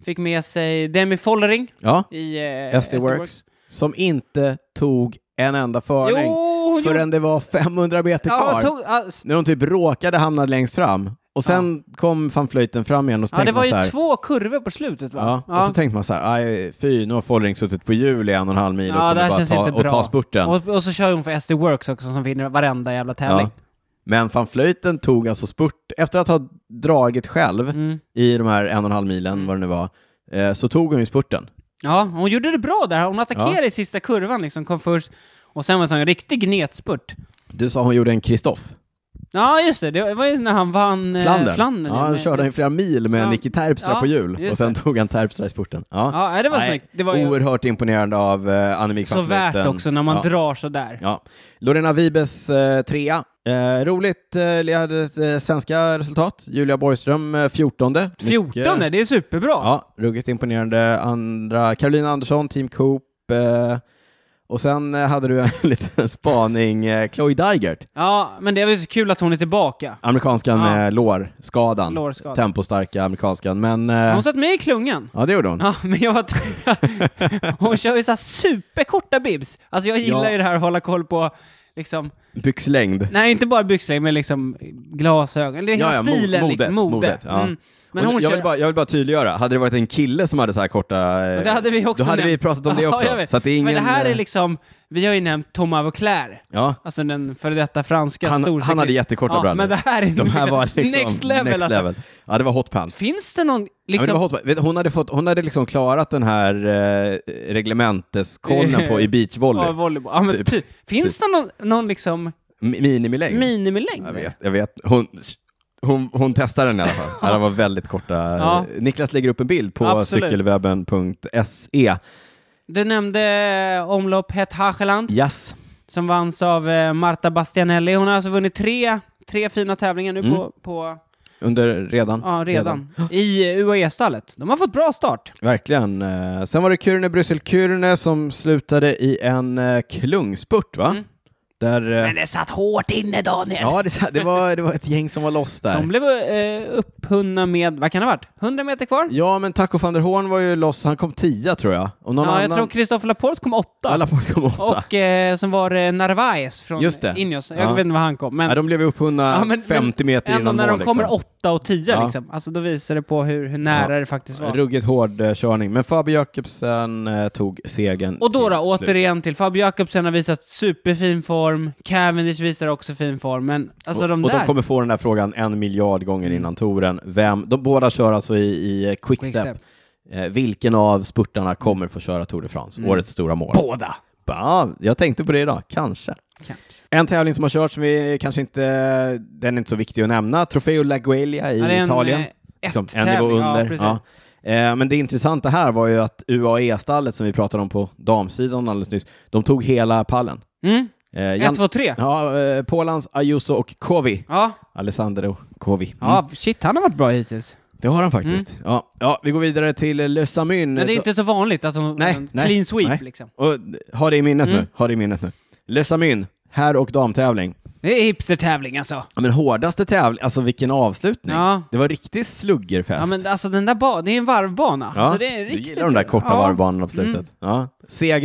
Fick med sig Demi Follering
Ja,
i eh,
SD Works, som inte tog en enda förning
Jo, hon gjorde...
förrän det var 500 meter kvar.
Ja, tog, ja, s-
När de typ råkade hamna längst fram. Och sen kom van Vleuten fram igen och så
ja, det
tänkte
var
man
ju
så här,
två kurvor på slutet va?
Ja, och så tänkte man så här, aj, fy, nu har Follering suttit på hjul i en och en halv mil och
Ja, det
kommer
här
bara
känns
ta,
inte
och
bra.
ta spurten.
och, och så kör hon för SD Works också som vinner varenda jävla
Ja.
tävling.
Men van Vleuten tog alltså spurt, efter att ha dragit själv
Mm.
i de här en och en halv milen, vad det nu var, eh, så tog hon ju spurten.
Ja, hon gjorde det bra där. Hon attackerade i sista kurvan liksom, kom först. Och sen var det en sån riktig gnetspurt.
Du sa hon gjorde en Kristoff.
Ja, just det. Det var ju när han vann eh,
Flandern.
Flandern,
ja, han
med-
körde en flera mil med
Ja.
Nicky Terpstra
Ja,
på hjul
just
och sen
det.
tog han Terpstra i spurten. Ja.
Ja, nej, det var
Nej,
snyggt. Det var ju
Oerhört imponerande av eh, Annemiek
så
van
värt
Vleuten.
också när man
ja.
drar så där.
Ja. Lorena Vibes eh, trea. Eh, roligt, eh, jag hade ett, eh, svenska resultat. Julia Borgström eh, 14.
14, det är superbra.
Ja, ruggigt imponerande. Andra, Carolina Andersson, Team Coop. Eh, och sen eh, hade du en [laughs] liten spaning, eh, Chloe Dygert,
Ja, men det var ju så kul att hon är tillbaka.
amerikanskan
Ja.
med lårskadan.
Lårskada.
Tempostarka amerikanskan, men... eh,
Hon satt med i klungan.
Ja, det gjorde hon.
Ja, men jag var... [laughs] hon kör ju så här superkorta bibs. Alltså jag gillar
Ja.
ju det här att hålla koll på liksom,
Byxlängd.
nej inte bara byxlängd men liksom glasögon, det är hela
Ja, ja, mo-
stilen,
modet,
liksom, mode.
modet, ja.
mm. Men hon
jag,
kör...
vill bara, jag vill bara tydliggöra, hade det varit en kille som hade så här korta... eh,
Och Det hade vi också
Då hade vi
nämnt.
pratat om det
Ja,
också.
jag vet.
så att det är ingen...
Men det här är
eh,
liksom, vi har ju nämnt Thomas Vauclair.
Ja.
Alltså den före detta franska
Han,
storsekreteraren.
han hade jättekorta
ja,
brallor.
Men det här är
De här
liksom
var liksom
[laughs] next level, alltså.
Ja, det var hot pants.
Finns det någon,
Ja, men
liksom,
det var hot pants. Vet du, Hon hade, fått, hon hade liksom klarat den här eh, reglementeskollen på i beachvolley.
[laughs] ja, volleyboll? Ja, men
Typ.
ty, finns det någon, någon liksom
Mi- Minimilängd.
minimilängd?
Jag vet, jag vet. Hon, hon, hon testade den i alla
[laughs]
fall. Ja, de var väldigt korta.
Ja.
Niklas lägger upp en bild på
Absolut.
cykelwebben.se.
Du nämnde eh, omlopp Het Hageland
Yes.
som vanns av eh, Marta Bastianelli. Hon har alltså vunnit tre, tre fina tävlingar nu
Mm.
på, på
Under redan.
ja, redan, i eh, UAE-stallet. De har fått bra start.
Verkligen. Eh, Sen var det Kyrne Bryssel Kyrne som slutade i en eh, klungspurt, va?
Mm.
Där, eh,
Men det satt hårt inne, Daniel.
ja, det, sa- det, var, det var ett gäng som var loss där.
De blev eh, upphunna med, vad kan det ha varit, 100 meter kvar?
Ja, men Taco van der Hoorn var ju loss. Han kom tia, tror jag. Och någon
Ja,
annan...
jag tror Kristoffer Laporte kom åtta.
Alla på kom åtta.
Och eh, som var eh, Narvaez från
Just det.
Ineos. Jag
Ja.
vet inte var han kom, men...
Nej, de blev ju upphunna
Ja, men-
50 meter
Ändå
innan
när
mål,
de kommer
liksom.
åtta och tio
Ja.
liksom. Alltså då visar det på hur, hur nära det faktiskt var.
Ruggigt hård eh, körning. Men Fabio Jakobsen eh, tog segern.
Och då,
till
då
slut.
återigen till Fabio Jakobsen har visat superfin form, Cavendish visar också fin form, men alltså
och,
de
och
där...
de kommer få den här frågan en miljard gånger innan touren. Vem, de båda kör alltså i, i eh, quickstep.
Quickstep.
Eh, vilken av spurtarna kommer få köra Tour de France? Årets stora mål.
Båda!
Ja, jag tänkte på det idag, kanske.
Kanske.
En tävling som har kört som vi kanske inte, den är inte så viktig att nämna, Trofeo La Guelia i
Ja, det är en,
Italien.
eh,
Liksom, en
ett-tävling.
nivå
Ja,
under.
precis.
Ja, Eh, Men det intressanta här var ju att UAE-stallet som vi pratade om på damsidan alldeles nyss, de tog hela pallen.
Mm.
Eh, Jan-
Ett, två, tre. Ja.
Ja, eh, Polans, Ayuso och Kovi.
Ja.
Alessandro Kovi. Mm.
shit han har varit bra hittills.
Det har han faktiskt. Ja. ja, vi går vidare till Le Samyn.
Mm. Men det är inte så vanligt att hon...
Nej,
en
nej,
clean sweep
nej.
liksom.
Och, ha det i minnet
Mm.
nu. Ha det i minnet nu. Le Samyn, herr och damtävling.
Det är hipstertävling alltså.
Ja, men hårdaste tävling, alltså vilken avslutning.
Ja.
Det var riktig sluggerfest.
Ja men alltså den där banan, det är en varvbana.
Ja,
Alltså, det är en
du
riktigt...
gillar de där korta
ja.
varvbanorna på slutet.
Mm.
Ja.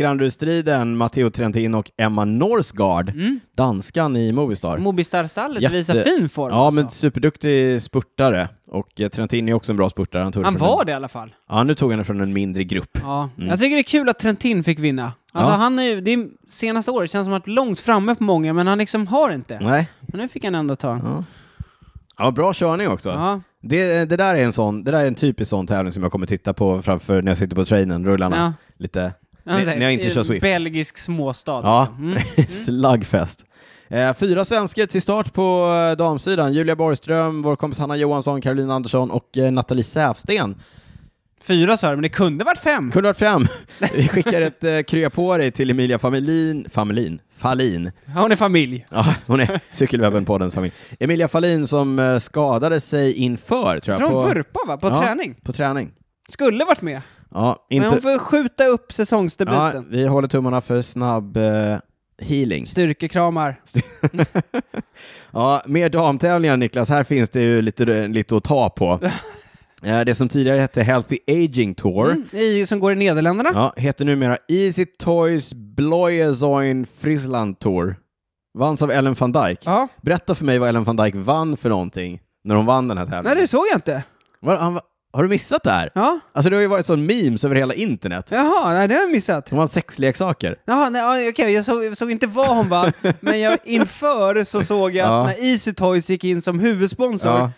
Segrandrustriden, Matteo Trentin och Emma Norsgaard,
Mm.
danskan i Movistar.
Mobistar-stallet
Jätte-
visar fin form
ja,
alltså.
men superduktig spurtare. Och eh, Trentin är också en bra spurtare. Han, tog
Han
från
var
en...
det i alla fall.
Ja, nu tog han det från en mindre grupp.
Ja.
Mm.
Jag tycker det är kul att Trentin fick vinna. Alltså
Ja.
han är ju, det är, senaste året känns som att långt framme på många, men han liksom har inte.
Nej.
Men nu fick han ändå ta. Ja.
Ja. ja, bra körning också. Det, det där är en sån, det där är en typisk sån tävling som jag kommer titta på framför när jag sitter på trainen, rullarna.
Ja.
Lite,
Ja,
när när jag inte
i
kör Swift.
Belgisk småstad
Ja,
liksom. Mm.
[laughs] slagfest. Eh, fyra svenskar till start på eh, damsidan. Julia Borgström, vår kompis Hanna Johansson, Caroline Andersson och eh, Nathalie Säfsten.
Fyra sa du, men det kunde varit fem.
Kunde varit
[laughs]
fem. Vi skickar ett eh, krya på dig till Emilia Famelin, Famelin, Fallin.
Ja, Hon är familj.
Ja, hon är Cykelwebben-poddens familj. Emilia Fallin som eh, skadade sig inför, tror
Jag
jag.
tror hon vurpade va? På
Ja,
träning.
På träning.
Skulle varit med.
Ja,
Men hon
inte...
får skjuta upp
Ja,
säsongsdebuten.
vi håller tummarna för snabb eh, healing.
Styrkekramar.
Ja, mer damtävlingar Niklas, här finns det ju lite, lite att ta
[laughs]
på. Eh, Det som tidigare hette Healthy Aging Tour
Mm, i, som går i Nederländerna.
ja, heter numera Easy Toys Bloyezoin Frisland Tour. Vanns av Ellen van Dijk.
Ja.
Berätta för mig vad Ellen van Dijk vann för någonting när hon vann den här tävlingen.
Nej, det såg jag inte.
Var, han, har du missat det här?
Ja.
Alltså det har ju varit sån memes över hela internet.
Jaha, nej, det har jag missat.
Hon vann sexleksaker.
Jaha, nej, ja, okej, jag såg, jag såg inte vad
[laughs]
hon vann, men jag, inför så såg jag att
Ja.
när Easy Toys gick in som huvudsponsor,
Ja.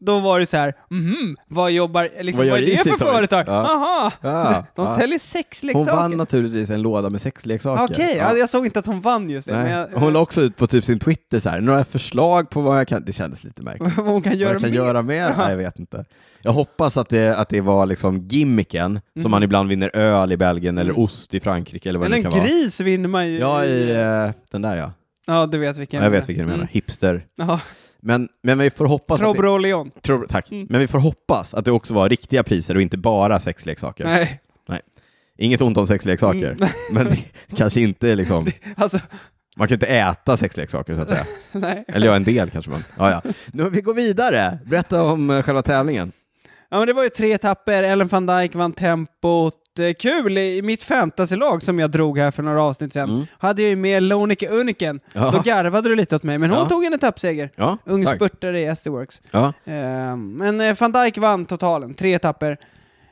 då var det så här, mhm, vad jobbar, liksom,
Vad
vad,
gör
är det
Easy
för
Toys?
företag?
Ja.
Aha,
Ja,
[laughs] de
ja.
säljer sexleksaker.
Hon vann naturligtvis en låda med sexleksaker.
Okej, ja. jag såg inte att hon vann just det,
Nej.
men jag,
Hon la också ut på typ sin Twitter så här, några förslag på vad jag kan... Det kändes lite märkligt.
vad [laughs] hon kan
Vad
göra
jag kan
med.
göra
[laughs]
mer? Nej, jag vet inte. Jag hoppas att det, att det var liksom gimmicken, som man ibland vinner öl i Belgien eller ost i Frankrike eller vad
Men
det nu
Mhm. Mm. en
kan vara.
gris vinner man ju.
Ja, i eh, den där ja.
ja, du vet vilken.
Jag, jag vet vilken du menar.
Mm.
Hipster.
Jaha,
Men, men vi får hoppas att det,
Trobro Leon.
Trobro, tack.
Mm.
Men vi får hoppas att det också var riktiga priser och inte bara sexleksaker.
Nej,
Inget ont om sexleksaker,
Mm. [laughs]
men det kanske inte är liksom...
alltså, [laughs]
Man kan ju inte äta sexleksaker så att säga.
nej.
Eller ja, en del kanske man... Ja, ja. Nu, vi går vidare. Berätta om eh, själva tävlingen.
Ja men det var ju tre etapper, Ellen van Dijk vann tempot. Eh, Kul! I mitt fantasylag som jag drog här för några avsnitt sedan
Mm.
hade jag ju med Lonike Uniken.
Ja.
Då garvade du lite åt mig, men hon
Ja.
tog en etappseger.
Ja,
Ung
tack.
spurtare i SD Works.
Ja.
Eh, Men eh, van Dijk vann totalen, tre etapper.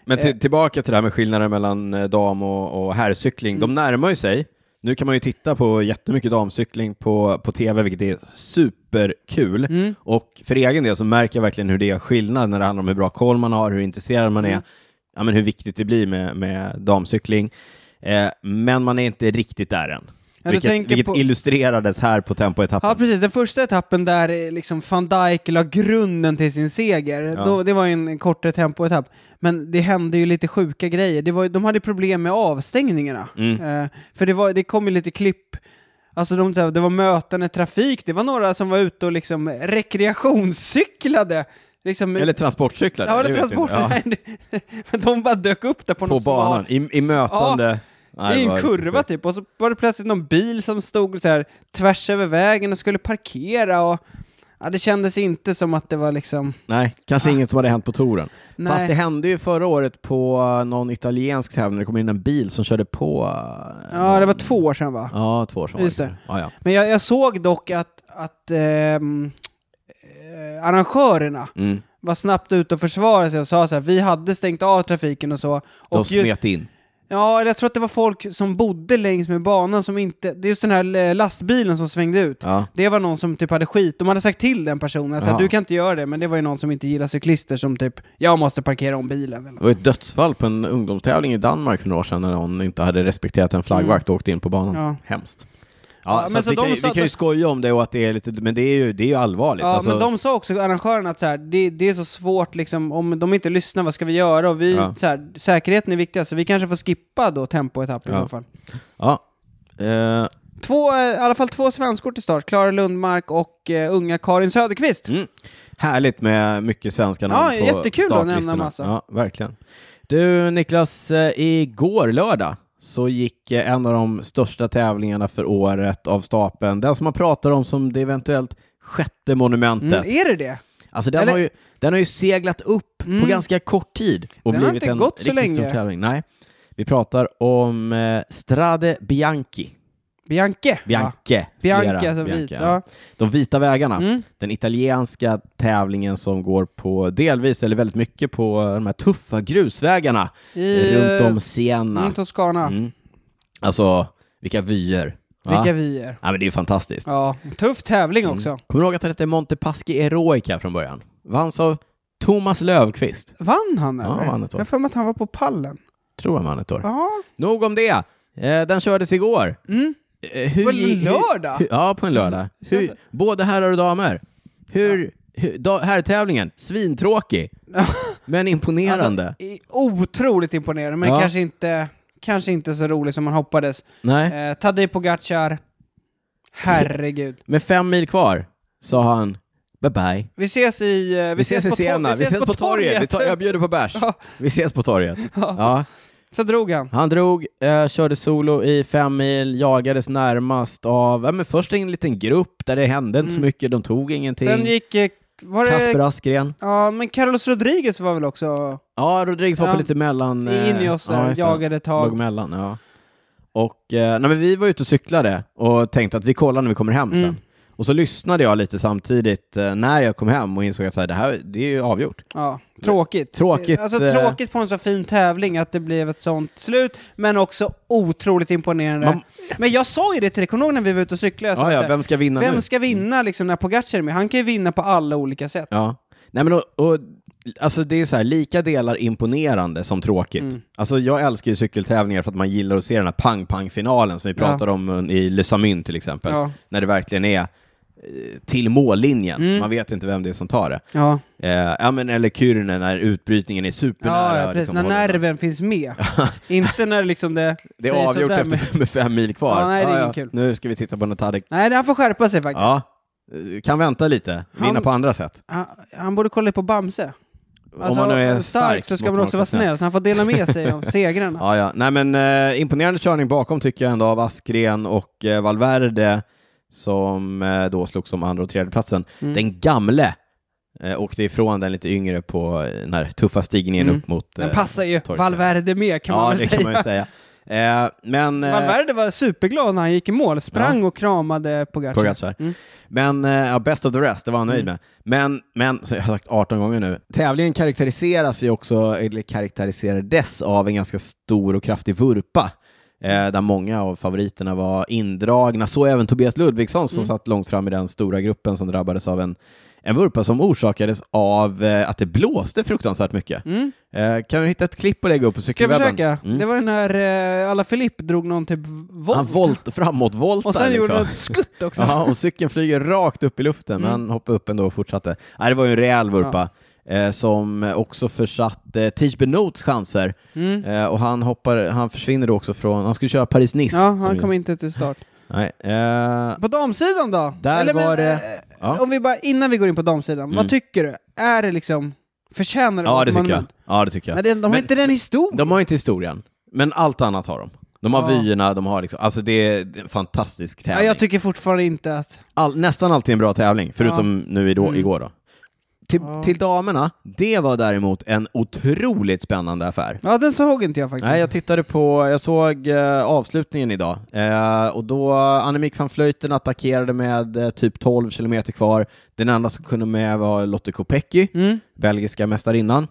Men till, tillbaka till det här med skillnaden mellan eh, dam och, och herrcykling. De närmar ju sig. Nu kan man ju titta på jättemycket damcykling på, på tv, vilket är superkul.
Mm.
Och för egen del så märker jag verkligen hur det är skillnad när det handlar om hur bra koll man har, hur intresserad man är,
Mm.
ja, men hur viktigt det blir med, med damcykling. Eh, men man är inte riktigt där än.
du
vilket
tänker
vilket
på-
illustrerades här på
Ja
tempoetappen.
precis, den första etappen där eh, liksom van Dijk la grunden till sin seger,
Ja.
då, det var ju en kortare tempoetapp. Men det hände ju lite sjuka grejer. Det var, ju- de hade problem med avstängningarna.
Mm.
Eh, för det, var, det kom ju lite klipp, alltså de, det var möten i trafik, det var några som var ute och liksom rekreationscyklade. Liksom,
Eller transportcyklar.
ja,
det
eller
vet vi
transport.
inte. Ja,
Men de bara dök upp där [laughs] på,
på
någon smal-
banan, i, i mötande... Nej,
i
det
en
var
kurva
riktigt
typ, och så var det plötsligt någon bil som stod så här tvärs över vägen och skulle parkera och ja, det kändes inte som att det var liksom...
sjukt. Nej, kanske inget som hade hänt på touren.
Nej.
Fast det hände ju förra året på eh, någon italiensk tävling, det kom in en bil som körde på... eh,
Ja, det var
någon-
två år sedan va?
Ja, två år sedan var
Just det.
Ja, ja.
Men jag, jag såg dock att, att ehm, eh, arrangörerna
Mm.
var snabbt ute och försvarade sig och sa så här, vi hade stängt av trafiken och så.
De
Och ju-
smet in.
Ja, eller jag tror att det var folk som bodde längs med banan som inte... Det är just den här eh, lastbilen som svängde ut.
Ja.
Det var någon som typ hade skit, de hade sagt till den personen att så här,
Ja.
du kan inte göra det, men det var ju någon som inte gillar cyklister som typ, jag måste parkera om bilen eller
Det var ett dödsfall på en ungdomstävling i Danmark för några år sedan när någon inte hade respekterat en flaggvakt och åkte in på banan.
Mm. Ja.
Hemskt.
Ja,
Ja, så
men
att
så
vi,
de
kan, ju-
sa
vi kan ju
att-
skoja om det och att det är lite, men det är ju, det är ju allvarligt.
Ja,
alltså,
men de sa också, arrangörerna, att så här, det, det är så svårt liksom, om de inte lyssnar, vad ska vi göra? Och vi,
Ja.
så här, säkerheten är viktigast, så vi kanske får skippa då tempoetapp i
Ja.
så fall.
ja. Eh,
Två, eh, i alla fall två svenskor till start, Klara Lundmark och eh, unga Karin Söderqvist.
mm. Härligt med mycket svenska namn
Ja,
på
jättekul att nämna
startlistorna.
massa.
Ja, verkligen. Du Niklas, eh, igår lördag så gick eh, en av de största tävlingarna för året av stapeln. Den som man pratar om som det eventuellt sjätte monumentet.
Mm, är det det?
Alltså den,
Eller-
har ju, den har ju seglat upp
Mm.
på ganska kort tid och
Den har
blivit
inte
en
gått så
riktigt
länge.
stor tävling. Nej. Vi pratar om eh, Strade Bianchi.
Bianche? va?
Bianche.
Bianche,
Flera
alltså
Bianche,
vit.
ja.
Ja.
De vita vägarna.
Mm.
Den italienska tävlingen som går på delvis, eller väldigt mycket, på de här tuffa grusvägarna
I,
runt om
eh,
Siena.
mm, Toscana.
Mm. Alltså, vilka vyer. va?
Vilka vi är.
Ja, Mm. men det är ju fantastiskt.
Ja, tuff tävling också.
Kommer du ihåg att den hette Montepaschi Eroica från början? Vanns av Thomas Löfqvist.
Vann han
Ja,
eller?
vann ett år.
Jag har för mig att han var på pallen.
Tror jag man ett år.
Ja.
Nog om det. Eh, den kördes igår.
Mm.
Eh, hur,
På en
gi- hur-
lördag? Mm.
Hur, ja, på en lördag. Hur,
Känns-
både herrar och damer. Hur, hu- da- herrtävlingen, svintråkig, men imponerande.
I- Otroligt imponerande, men
Ja.
kanske, inte, kanske inte så rolig som man hoppades.
Nej.
Eh, Tadej Pogacar, herregud.
Med fem mil kvar sa han bye bye.
Vi ses i... eh, Vi,
Vi ses i
på tor-
Siena, vi ses på torget. Vi tar, jag bjuder på bärs.
Ja.
Vi ses på torget. Ja.
Så drog han.
Han drog, eh, körde solo i fem mil, jagades närmast av, ja, men först en liten grupp där det hände inte så mycket, de tog ingenting.
Mm. Sen gick... eh, Var
Kasper
det,
Askren.
ja, men Carlos Rodriguez var väl också
Ja, Rodriguez hoppade
Ja.
lite mellan. eh,
in i oss där,
ja, just det.
jagade ett tag.
Låg mellan, ja. Och, eh, nej, men vi var ute och cyklade och tänkte att vi kollar när vi kommer hem sen.
Mm.
Och så lyssnade jag lite samtidigt eh, när jag kom hem och insåg att så här, det här det är ju avgjort.
Ja, tråkigt.
Tråkigt,
Alltså
eh,
tråkigt på en så fin tävling att det blev ett sånt slut, men också otroligt imponerande.
Man-
Men jag sa ju det till dig, kommer du ihåg när vi var ute och cyklade? Jag sa
Ja,
så
ja,
här,
vem ska vinna nu?
vem ska vinna liksom, när Pogacar är med? Han kan ju vinna på alla olika sätt.
Ja. Nej, men och, och, alltså det är så här, lika delar imponerande som tråkigt.
Mm.
Alltså jag älskar ju cykeltävlingar för att man gillar att se den här pang-pang-finalen som vi
Ja.
pratade om eh, i Lysamyn till exempel.
Ja.
När det verkligen är eh, till mållinjen.
Mm.
Man vet inte vem det är som tar det.
Ja,
Eh, ja, men, eller Kyrne när utbrytningen är
ja,
supernära.
ja precis.
liksom,
När
håller den.
nerven
[laughs]
finns med. Inte när liksom det
det
säger
är avgjort
sådär,
efter
men-
med fem mil kvar.
Ja, nej, det är ingen kul.
Nu ska vi titta på Natadik.
Nej, han får skärpa sig faktiskt.
Ja, eh, kan vänta lite. Vinna
Han-
på andra sätt.
Han, han borde kolla på Bamse. Alltså,
Om man nu är stark,
så ska
måste
man också vara snäll, så han får dela med
[laughs]
sig av segrarna.
Ja, ja. Nej, men eh, imponerande körning bakom tycker jag ändå av Askren och eh, Valverde som eh, då slogs om andra och tredje platsen.
Mm.
Den gamle eh, åkte ifrån den lite yngre på eh, den här tuffa stigningen
Mm.
upp mot...
Den passar ju
torkar.
Valverde med kan
eh, ja,
man väl
det
säga.
kan man ju säga. Eh, men... eh,
Valverde var superglad när han gick i mål, sprang och kramade Pogacar.
Pogacar.
Mm.
Men eh, ja, best of the rest, det var han nöjd med. Men, men som jag har sagt 18 gånger nu, tävlingen karaktäriseras ju också, eller karaktäriserades av en ganska stor och kraftig vurpa. Eh, där många av favoriterna var indragna, så även Tobias Ludvigsson
Mm.
som satt långt fram i den stora gruppen som drabbades av en, en vurpa som orsakades av eh, att det blåste fruktansvärt mycket.
Mm.
Eh, kan vi hitta ett klipp och lägga upp på
Ska jag
cykelwebben?
försöka?
Mm.
Det var ju när eh, alla Filip drog någon typ volt.
Han volt, framåtvoltar
och sen gjorde
liksom.
han ett skutt också. Mm.
Ja, och cykeln flyger rakt upp i luften, men han hoppade upp ändå och fortsatte. Nej, det var ju en rejäl vurpa. Eh, som också försatte eh, Tige Benots chanser.
Mm.
Eh, och han, hoppar, han försvinner då också från... Han skulle köra Paris-Nice.
Ja,
som
han
ju-
kom inte till start.
Nej, eh,
På damsidan då?
där
Eller, men,
var det...
eh,
Ja,
Om vi bara, innan vi går in på damsidan, vad
Mm.
tycker du? Är det liksom, förtjänar
ja, det
Ottman
tycker jag.
Lund?
Ja, det tycker jag.
Nej, det- de har
Men-
inte den historien.
De har inte historien, men allt annat har de. De har
Ja.
vyerna, de har liksom... Alltså det är en fantastisk
ja,
tävling.
jag tycker fortfarande inte att...
All, nästan alltid en bra tävling, förutom nu idag,
Mm.
igår då. Till,
Ja.
till damerna, det var däremot en otroligt spännande affär.
Ja, den såg inte jag faktiskt.
Nej, jag tittade på, jag såg eh, avslutningen idag eh, och då Annemiek van Vleuten attackerade med eh, typ 12 kilometer kvar. Den enda som kunde med var Lotte Kopecky,
Mm.
belgiska mästarinnan.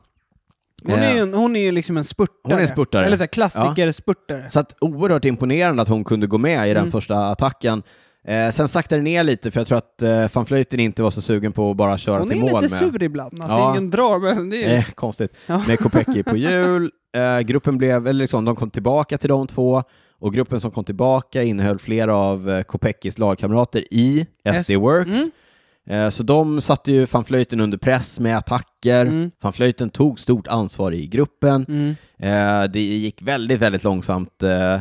Hon, är
Eh,
ju en, hon är ju liksom en spurtare.
Hon är en spurtare.
Eller så här, klassiker-spurtare.
Så att oerhört imponerande att hon kunde gå med i den
Mm.
första attacken. Eh, sen saktade det ner lite för jag tror att eh, van Vleuten inte var så sugen på att bara köra
Hon
till
är
mål.
lite
med.
sur ibland, att
Ja.
ingen drar, men det är
Eh, konstigt.
Ja. [laughs]
Med Kopecky på hjul. Eh, gruppen blev, eller liksom, de kom tillbaka till de två och gruppen som kom tillbaka innehöll flera av eh, Kopeckis lagkamrater i SD
S-
Works.
Mm.
Eh, så de satte ju van Vleuten under press med attacker.
Mm.
Van Vleuten tog stort ansvar i gruppen.
Mm.
Eh, det gick väldigt, väldigt långsamt eh,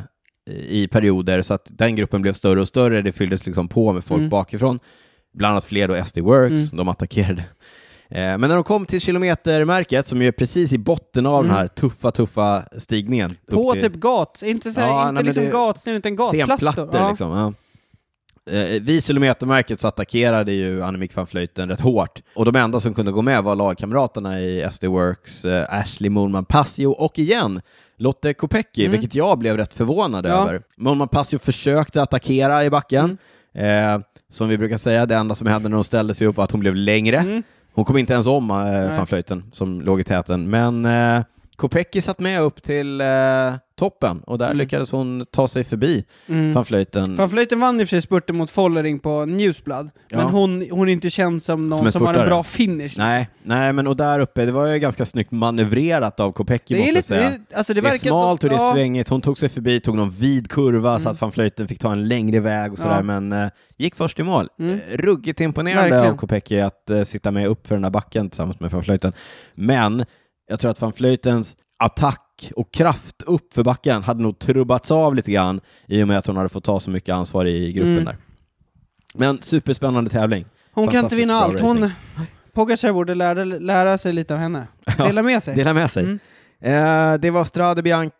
i perioder så att den gruppen blev större och större. Det fylldes liksom på med folk
Mm.
bakifrån. Bland annat fler då SD Works,
Mm.
de attackerade. Eh, men när de kom till kilometermärket, som ju är precis i botten av den här tuffa, tuffa stigningen. upp
Mm. På
till
typ gat, inte, så här,
Ja, nej,
inte
men
liksom
det-
gatsten utan gatplattor.
stenplattor
Ja.
liksom. Ja. Eh, vid kilometermärket så attackerade ju Annemiek van Vleuten rätt hårt och de enda som kunde gå med var lagkamraterna i SD Works, eh, Ashley Moonman Passio och igen Lotte Kopecky,
Mm.
vilket jag blev rätt förvånad
Ja.
över. Moonman Passio försökte attackera i backen.
Mm.
Eh, som vi brukar säga, det enda som hände när hon ställde sig upp var att hon blev längre.
Mm.
Hon kom inte ens om eh,
Nej.
van Vleuten som låg i täten, men eh, Kopecky satt med upp till eh, toppen och där lyckades hon ta sig förbi
Mm.
fanflöjten.
Fanflöjten vann i och för sig spurten mot Follering på Newsblad,
Ja.
men hon, hon är inte känd som någon
Som
som,
en
har en
spurtare.
bra finish.
Nej, nej, men och där uppe, det var ju ganska snyggt manövrerat av Kopäcki måste
det är
jag
lite,
säga.
det är- alltså det,
Det, är
verkar
smalt och det är
ja, Mm.
svängigt. Hon tog sig förbi, tog någon vid kurva så att fanflöjten fick ta en längre väg och sådär,
Ja.
men eh, gick först i mål.
Mm.
Eh, Ruggigt imponerande
Verkligen.
av Kopäcki att eh, sitta med upp för den där backen tillsammans med fanflöjten. Men jag tror att fanflöjtens attack och kraft upp för backen hade nog trubbats av lite grann i och med att hon hade fått ta så mycket ansvar i gruppen
Mm.
där. Men superspännande tävling.
Hon kan inte
Fantastiskt
vinna
bra
allt. Hon,
racing.
Pogacar borde lära, lära sig lite av henne.
Ja,
Dela med sig.
Dela med sig.
Mm.
Eh, det var Strade Bianche.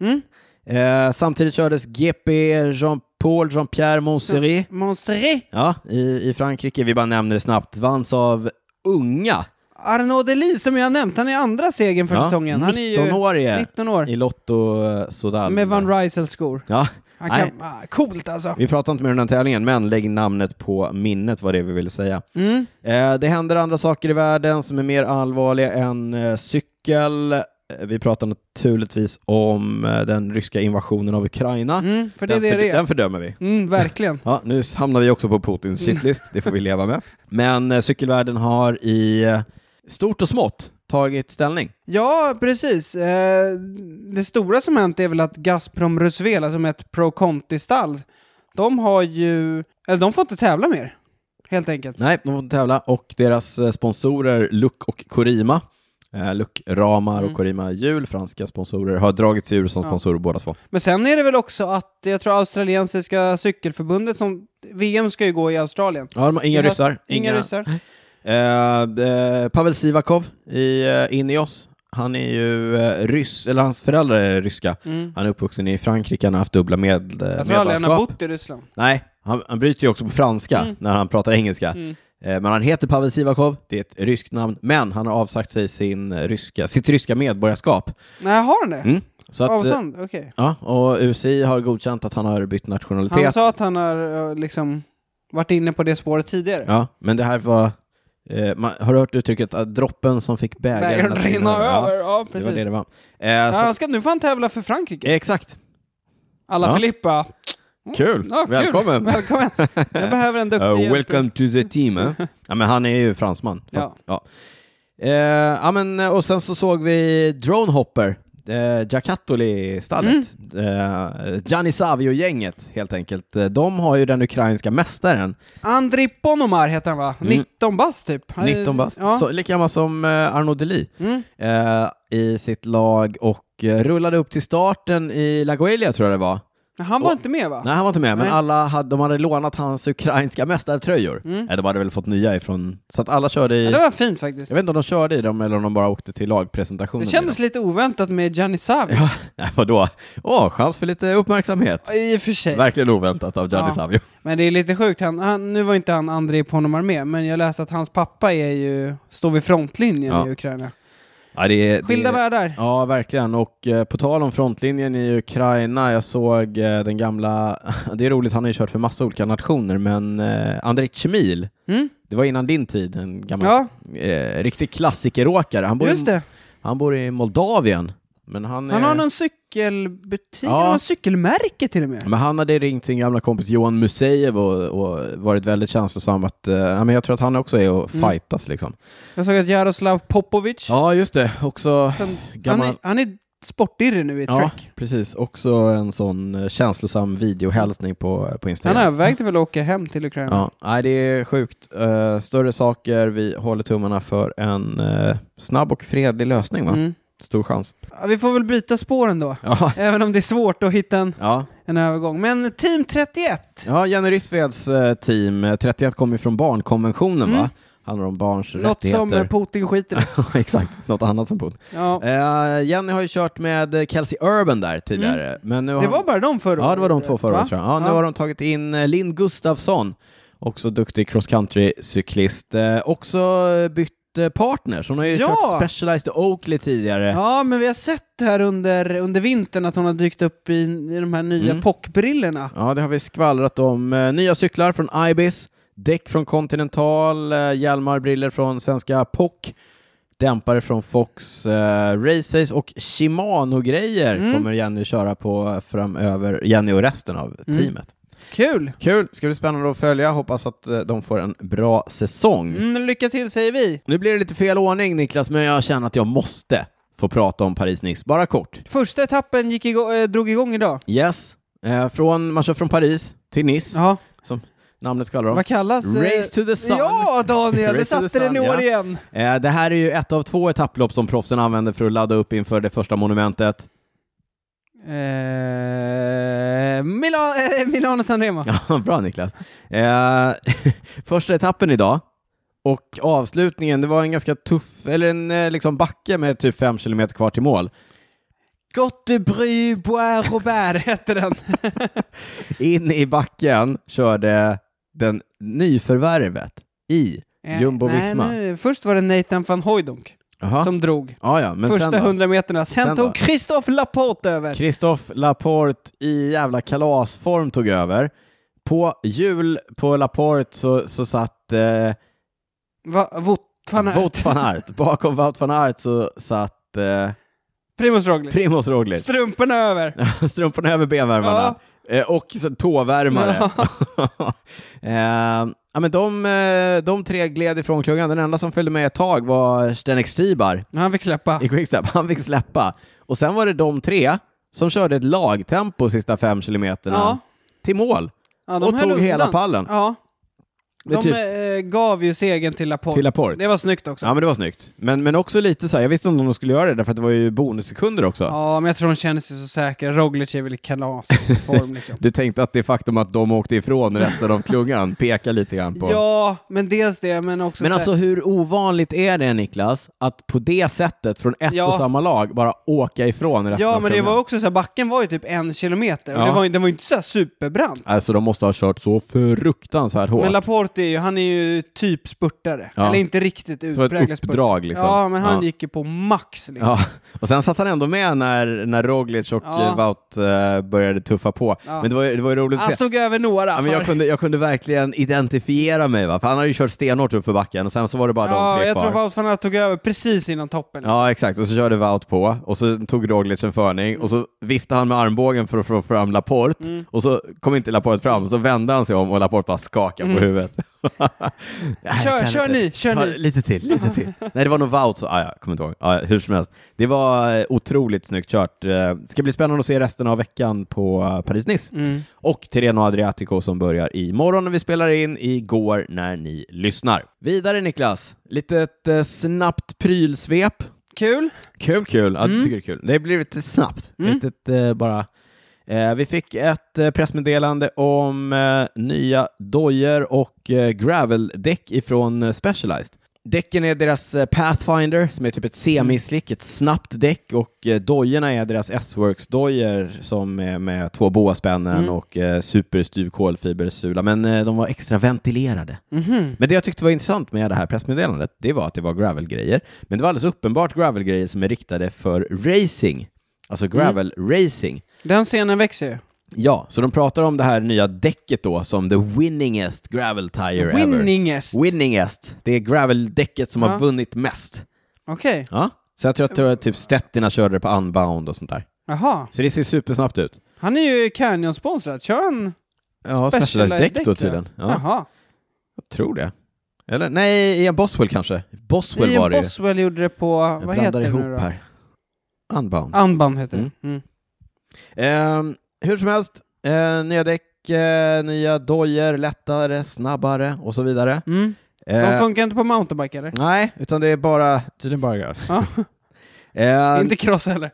Mm.
Eh, samtidigt kördes GP Jean-Paul Jean-Pierre Monserré
Monserré,
ja, i, i Frankrike. Vi bara nämner det snabbt. Vanns av unga.
Arnaud Delis som jag har nämnt, han är andra segern för
Ja,
säsongen. Han är ju
19-årige
19 år.
i Lotto eh, Sodal.
Med Van Rysel-skor.
ja.
Han
Nej.
kan, ah, coolt alltså.
Vi pratar inte mer om den tävlingen, men lägg namnet på minnet var det vi ville säga.
Mm.
Eh, det händer andra saker i världen som är mer allvarliga än eh, cykel. Eh, Vi pratar naturligtvis om eh, den ryska invasionen av Ukraina.
Mm, för det är
den,
det det är.
den fördömer vi.
Mm, verkligen.
Ja, nu hamnar vi också på Putins
Mm.
shitlist, det får vi leva
[laughs]
med. Men eh, cykelvärlden har i eh, stort och smått tagit ställning.
Ja, precis. Eh, det stora som hänt är väl att Gazprom Rusvela, som är ett Pro Conti-stall, de har ju... Eller de får inte tävla mer, helt enkelt.
Nej, de får inte tävla och deras eh, sponsorer Luck och Corima, eh, Luck Ramar och
Mm.
Corima Hjul, franska sponsorer, har dragit sig ur som
Ja.
sponsorer båda två.
Men sen är det väl också att jag tror australiensiska cykelförbundet som... VM ska ju gå i Australien.
Ja, de har inga
Vi har-
ryssar.
Inga, ryssar.
Eh, eh, Pavel Sivakov i eh, Ineos, han är ju eh, ryss, eller hans föräldrar är ryska.
Mm.
Han är uppvuxen i Frankrike, han har haft dubbla med, eh,
Jag tror aldrig han har
medborgarskap.
bott i Ryssland.
Nej, han, han bryter ju också på franska
Mm.
när han pratar engelska.
Mm.
Eh, Men han heter Pavel Sivakov, det är ett ryskt namn, men han har avsagt sig sin eh, ryska, sitt ryska medborgarskap.
Nej, har han det?
Mm. Så att, eh,
Avsand? Okej.
ja, och UCI har godkänt att han har bytt
Han
nationalitet.
sa att han har eh, liksom varit inne på det spåret tidigare.
Ja, men det här var... Eh, man, har du hört uttrycket att droppen som fick bägaren,
Bägaren
att
rinna över.
Ja,
Ja,
det
precis. Ah,
var det det var. Eh,
Ja,
så,
han ska, nu får han tävla för Frankrike.
eh, exakt.
Alla
Ja. [laughs]
Filippa.
Kul!
Ja, Mm. Ah, kul.
Välkommen!
Välkommen. Jag behöver en duktig
Uh,
hjälp.
welcome to the team.
[laughs]
Eh? ja, men han är ju fransman. Fast, ja. Eh, ja, men, eh, och sen så såg vi Dronehopper, eh, Giacattoli-stallet.
Mm.
Eh, Gianni Savio-gänget, helt enkelt. Eh, De har ju den ukrainska mästaren,
Andri Ponomar heter han va?
Mm.
19 bast typ. Han är-
19 bast,
Ja.
så, lika gammal som eh, Arnaud Deli,
Mm.
eh, i sitt lag och eh, rullade upp till starten i La Guelia, tror jag det var.
Men Han var
Och-
inte med va?
Nej, han var inte med, men
Nej.
alla hade, de hade lånat hans ukrainska mästartröjor.
Mm.
Eh, De hade väl fått nya ifrån, så att alla körde i...
Ja, det var fint faktiskt.
Jag vet inte om de körde i dem eller om de bara åkte till
Det
lagpresentationen.
kändes lite oväntat med Gianni Savio.
Ja, [laughs] nej, vadå? Åh, chans för lite uppmärksamhet.
I och för sig.
Verkligen oväntat av Gianni
Ja.
Savio.
Men det är lite sjukt. Han, han, nu var inte han Andrei Ponomar med, men jag läste att hans pappa är ju, står vid frontlinjen
Ja.
i Ukraina.
Ja, det är,
Skilda
det är...
världar.
Ja, verkligen. Och eh, på tal om frontlinjen i Ukraina, jag såg eh, den gamla... [laughs] Det är roligt, han har ju kört för massa olika nationer, men eh, Andrej Chmil,
Mm?
det var innan din tid, en gammal
Ja,
eh, riktig klassikeråkare. Han bor,
just
i,
det.
han bor i Moldavien, men han,
Han
är...
har någon cykelbutik,
Ja.
ja. någon cykelmärke till och med.
Men han hade ringt sin gamla kompis Johan Museev och, och varit väldigt känslosam att, eh, ja, men jag tror att han också är och
Mm.
fightas liksom.
Jag såg att Jaroslav Popovic,
Ja, just det. Också,
sen, han,
gammal-
är, han är sportirre nu i
ja,
track.
precis. Också en sån eh, känslosam videohälsning på, på
Han
Instagram.
övervägde väl att åka hem till Ukraina.
Ja, nej, det är sjukt. Eh, större saker. Vi håller tummarna för en eh, snabb och fredlig lösning, va?
Mm.
Stor chans.
Ja, Vi får väl byta spår ändå.
Ja,
Även om det är svårt att hitta en,
ja.
en övergång. Men Team 31,
ja Jenny Rissveds eh, team, eh, 31 kommer ju från barnkonventionen,
Mm.
va? Handlar om barns
något
rättigheter.
som eh, Putin skiter i.
Ja, [laughs] Exakt, något annat som Putin.
Ja.
Eh, Jenny har ju kört med eh, Kelsey Urban där tidigare. Men nu har
Mm. Det var bara de förra
Ja, det var de två förra
va?
året tror jag. Ja, nu
Ja.
har de tagit in eh, Linn Gustafsson, också duktig cross country-cyklist. Eh, också eh, bytt eh, partner, så hon har ju
Ja!
kört Specialized och Oakley tidigare.
Ja, men vi har sett här under, under vintern att hon har dykt upp i, i de här nya
Mm.
pockbrillorna.
Ja, det har vi skvallrat om. Eh, Nya cyklar från Ibis, däck från Continental, eh, hjälmar, briller från svenska POC, Dämpare från Fox eh, Raceface och Shimano-grejer
Mm.
kommer Jenny köra på framöver, Jenny och resten av
Mm.
teamet.
Kul!
Kul, ska bli spännande att följa. Hoppas att eh, de får en bra säsong.
Mm, lycka till säger vi.
Nu blir det lite fel ordning Niklas, men jag känner att jag måste få prata om Paris-Nice, bara kort.
Första etappen gick igång, eh, drog igång idag.
Yes, eh, från, man kör från Paris till Nice,
Ja,
som namnet kallar dem.
vad kallas... eh,
Race to the sun.
Ja, Daniel!
Race
Du
to the
satte den i
sun,
år
ja.
igen.
Eh, det här är ju ett av två etapplopp som proffsen använder för att ladda upp inför det första monumentet. [laughs]
Eh, Milan, eh, Milano Sanremo.
Ja, bra Niklas. Eh, [laughs] första etappen idag och avslutningen, det var en ganska tuff, eller en eh, liksom backe med typ 5 kilometer kvar till mål.
Gott de Bry Bois Robert hette den.
In i backen körde den nyförvärvet i
Eh,
Jumbo
nej,
Visma.
nu- Först var det Nathan van Hooijdonk
Jaha.
som drog
Ja, ja, men
första
sen då?
100 meterna. Sen,
Sen då?
tog Christophe Laporte över.
Christophe Laporte i jävla kalasform tog över. På jul på Laporte så, så satt eh,
Va, Wout van Aert.
Wout
[laughs]
van Aert. Bakom Wout van Aert så satt eh,
Primoz Roglic.
Primoz Roglic.
Strumporna
[laughs]
över.
Strumporna över benvärmarna. Eh, Och så tåvärmare. [laughs] eh, ja, men de, eh, de tre gled ifrån klungan. Den enda som följde med ett tag var Stenek Stibar
Men Han fick släppa.
i Quickstep. Han fick släppa. Och sen var det de tre som körde ett lagtempo sista fem kilometerna
Ja.
till mål
Ja,
och
höll
tog hela
undan.
pallen
Ja.
Det är
De
typ-
eh, gav ju segern till Laporte.
till Laporte.
Det var snyggt också.
Ja, men det var snyggt. Men, men också lite så här, jag visste inte om de skulle göra det, därför att det var ju bonussekunder också.
Ja, men jag tror de känner sig så säkra. Roglic är väl i kalasform liksom.
Du tänkte att det faktum att de åkte ifrån resten av
[laughs]
klungan pekar lite grann [laughs] på...
Ja, men dels det, men också
Men
så här-
alltså hur ovanligt är det Niklas, att på det sättet från ett
Ja.
och samma lag bara åka ifrån resten
Ja,
av
men det
klungan?
var också så här, backen var ju typ en kilometer och
Ja.
det var, ju- den var ju inte så här superbrant.
Alltså de måste ha kört så fruktansvärt hårt.
Men Laporte är ju, han är ju typ spurtare.
Ja.
Eller inte riktigt
Som ett
utpräglad spurtare.
uppdrag liksom.
Ja, men han
Ja.
gick ju på max liksom.
Ja. Och sen satt han ändå med när, när Roglic och
Ja.
ja. Wout eh, började tuffa på.
Ja.
Men det var, ju- det var ju roligt
Han
att se.
stod över några.
Ja, men jag,
för-
kunde, jag kunde verkligen identifiera mig, va? för han hade ju kört stenhårt upp för backen och sen så var det bara de
ja,
tre
jag
kvar.
tror Wout van Aert tog över precis innan toppen.
Ja, exakt. Och så körde Wout på och så tog Roglic en förning och så viftade han med armbågen för att få fram Laporte och så kom inte Laporte fram så vände han sig om och Laporte bara skakade på huvudet. Mm. [laughs] Nej,
Kör-
jag kan
kör
inte.
ni, kör
Ta
ni.
Lite till, lite till. [laughs] Nej, det var nog Wout. Så, ah, ja, kommer inte ihåg. Ah, ja, hur som helst. Det var eh, otroligt snyggt kört. Eh, Ska bli spännande att se resten av veckan på eh, Paris-Nice.
Mm.
Och Tireno Adriatico som börjar imorgon när vi spelar in, igår när ni lyssnar. Vidare Niklas, lite ett eh, snabbt prylsvep.
Kul.
Kul, kul. Ja, du
Mm.
tycker det är kul. Det blir lite snabbt.
Mm.
Litet, eh, bara. Eh, vi fick ett eh, pressmeddelande om eh, nya dojer och eh, graveldäck ifrån eh, Specialized. Däcken är deras eh, Pathfinder, som är typ ett semislick, ett snabbt däck, och eh, dojorna är deras S-Works-dojor som är med två boaspännen
Mm.
och eh, superstyv kolfibersula, men eh, de var extra ventilerade.
Mhm.
Men det jag tyckte var intressant med det här pressmeddelandet, det var att det var gravelgrejer. Men det var alldeles uppenbart gravelgrejer som är riktade för racing. Alltså
Mm.
gravel-racing.
Den scenen växer ju.
Ja, så de pratar om det här nya däcket då som the winningest gravel tire ever.
Winningest.
Winningest. Det är graveldäcket som
Ja.
har vunnit mest.
Okej.
Ja. Så jag tror att det var typ Stettina körde det på unbound och sånt där.
Jaha.
Så det ser supersnabbt ut.
Han är ju Canyon-sponsrad. Kör han?
Ja,
Specialized
Specialized-däck då
däck, ja.
tydligen. Ja,
Jaha.
jag tror det. Eller nej, Ian Boswell kanske. Boswell var det
Ian
ju.
Boswell gjorde det på...
Jag
vad heter
blandar
det
ihop
nu då?
här. Unbound.
Anband heter
Mm.
det. Mm.
Ehm, hur som helst, eh, nya däck, eh, nya dojer, lättare, snabbare och så vidare.
Mm.
Eh,
De funkar inte på mountainbike eller?
nej, utan det är bara, tydligen bara graf. [laughs]
Ja.
Ehm,
Inte cross heller.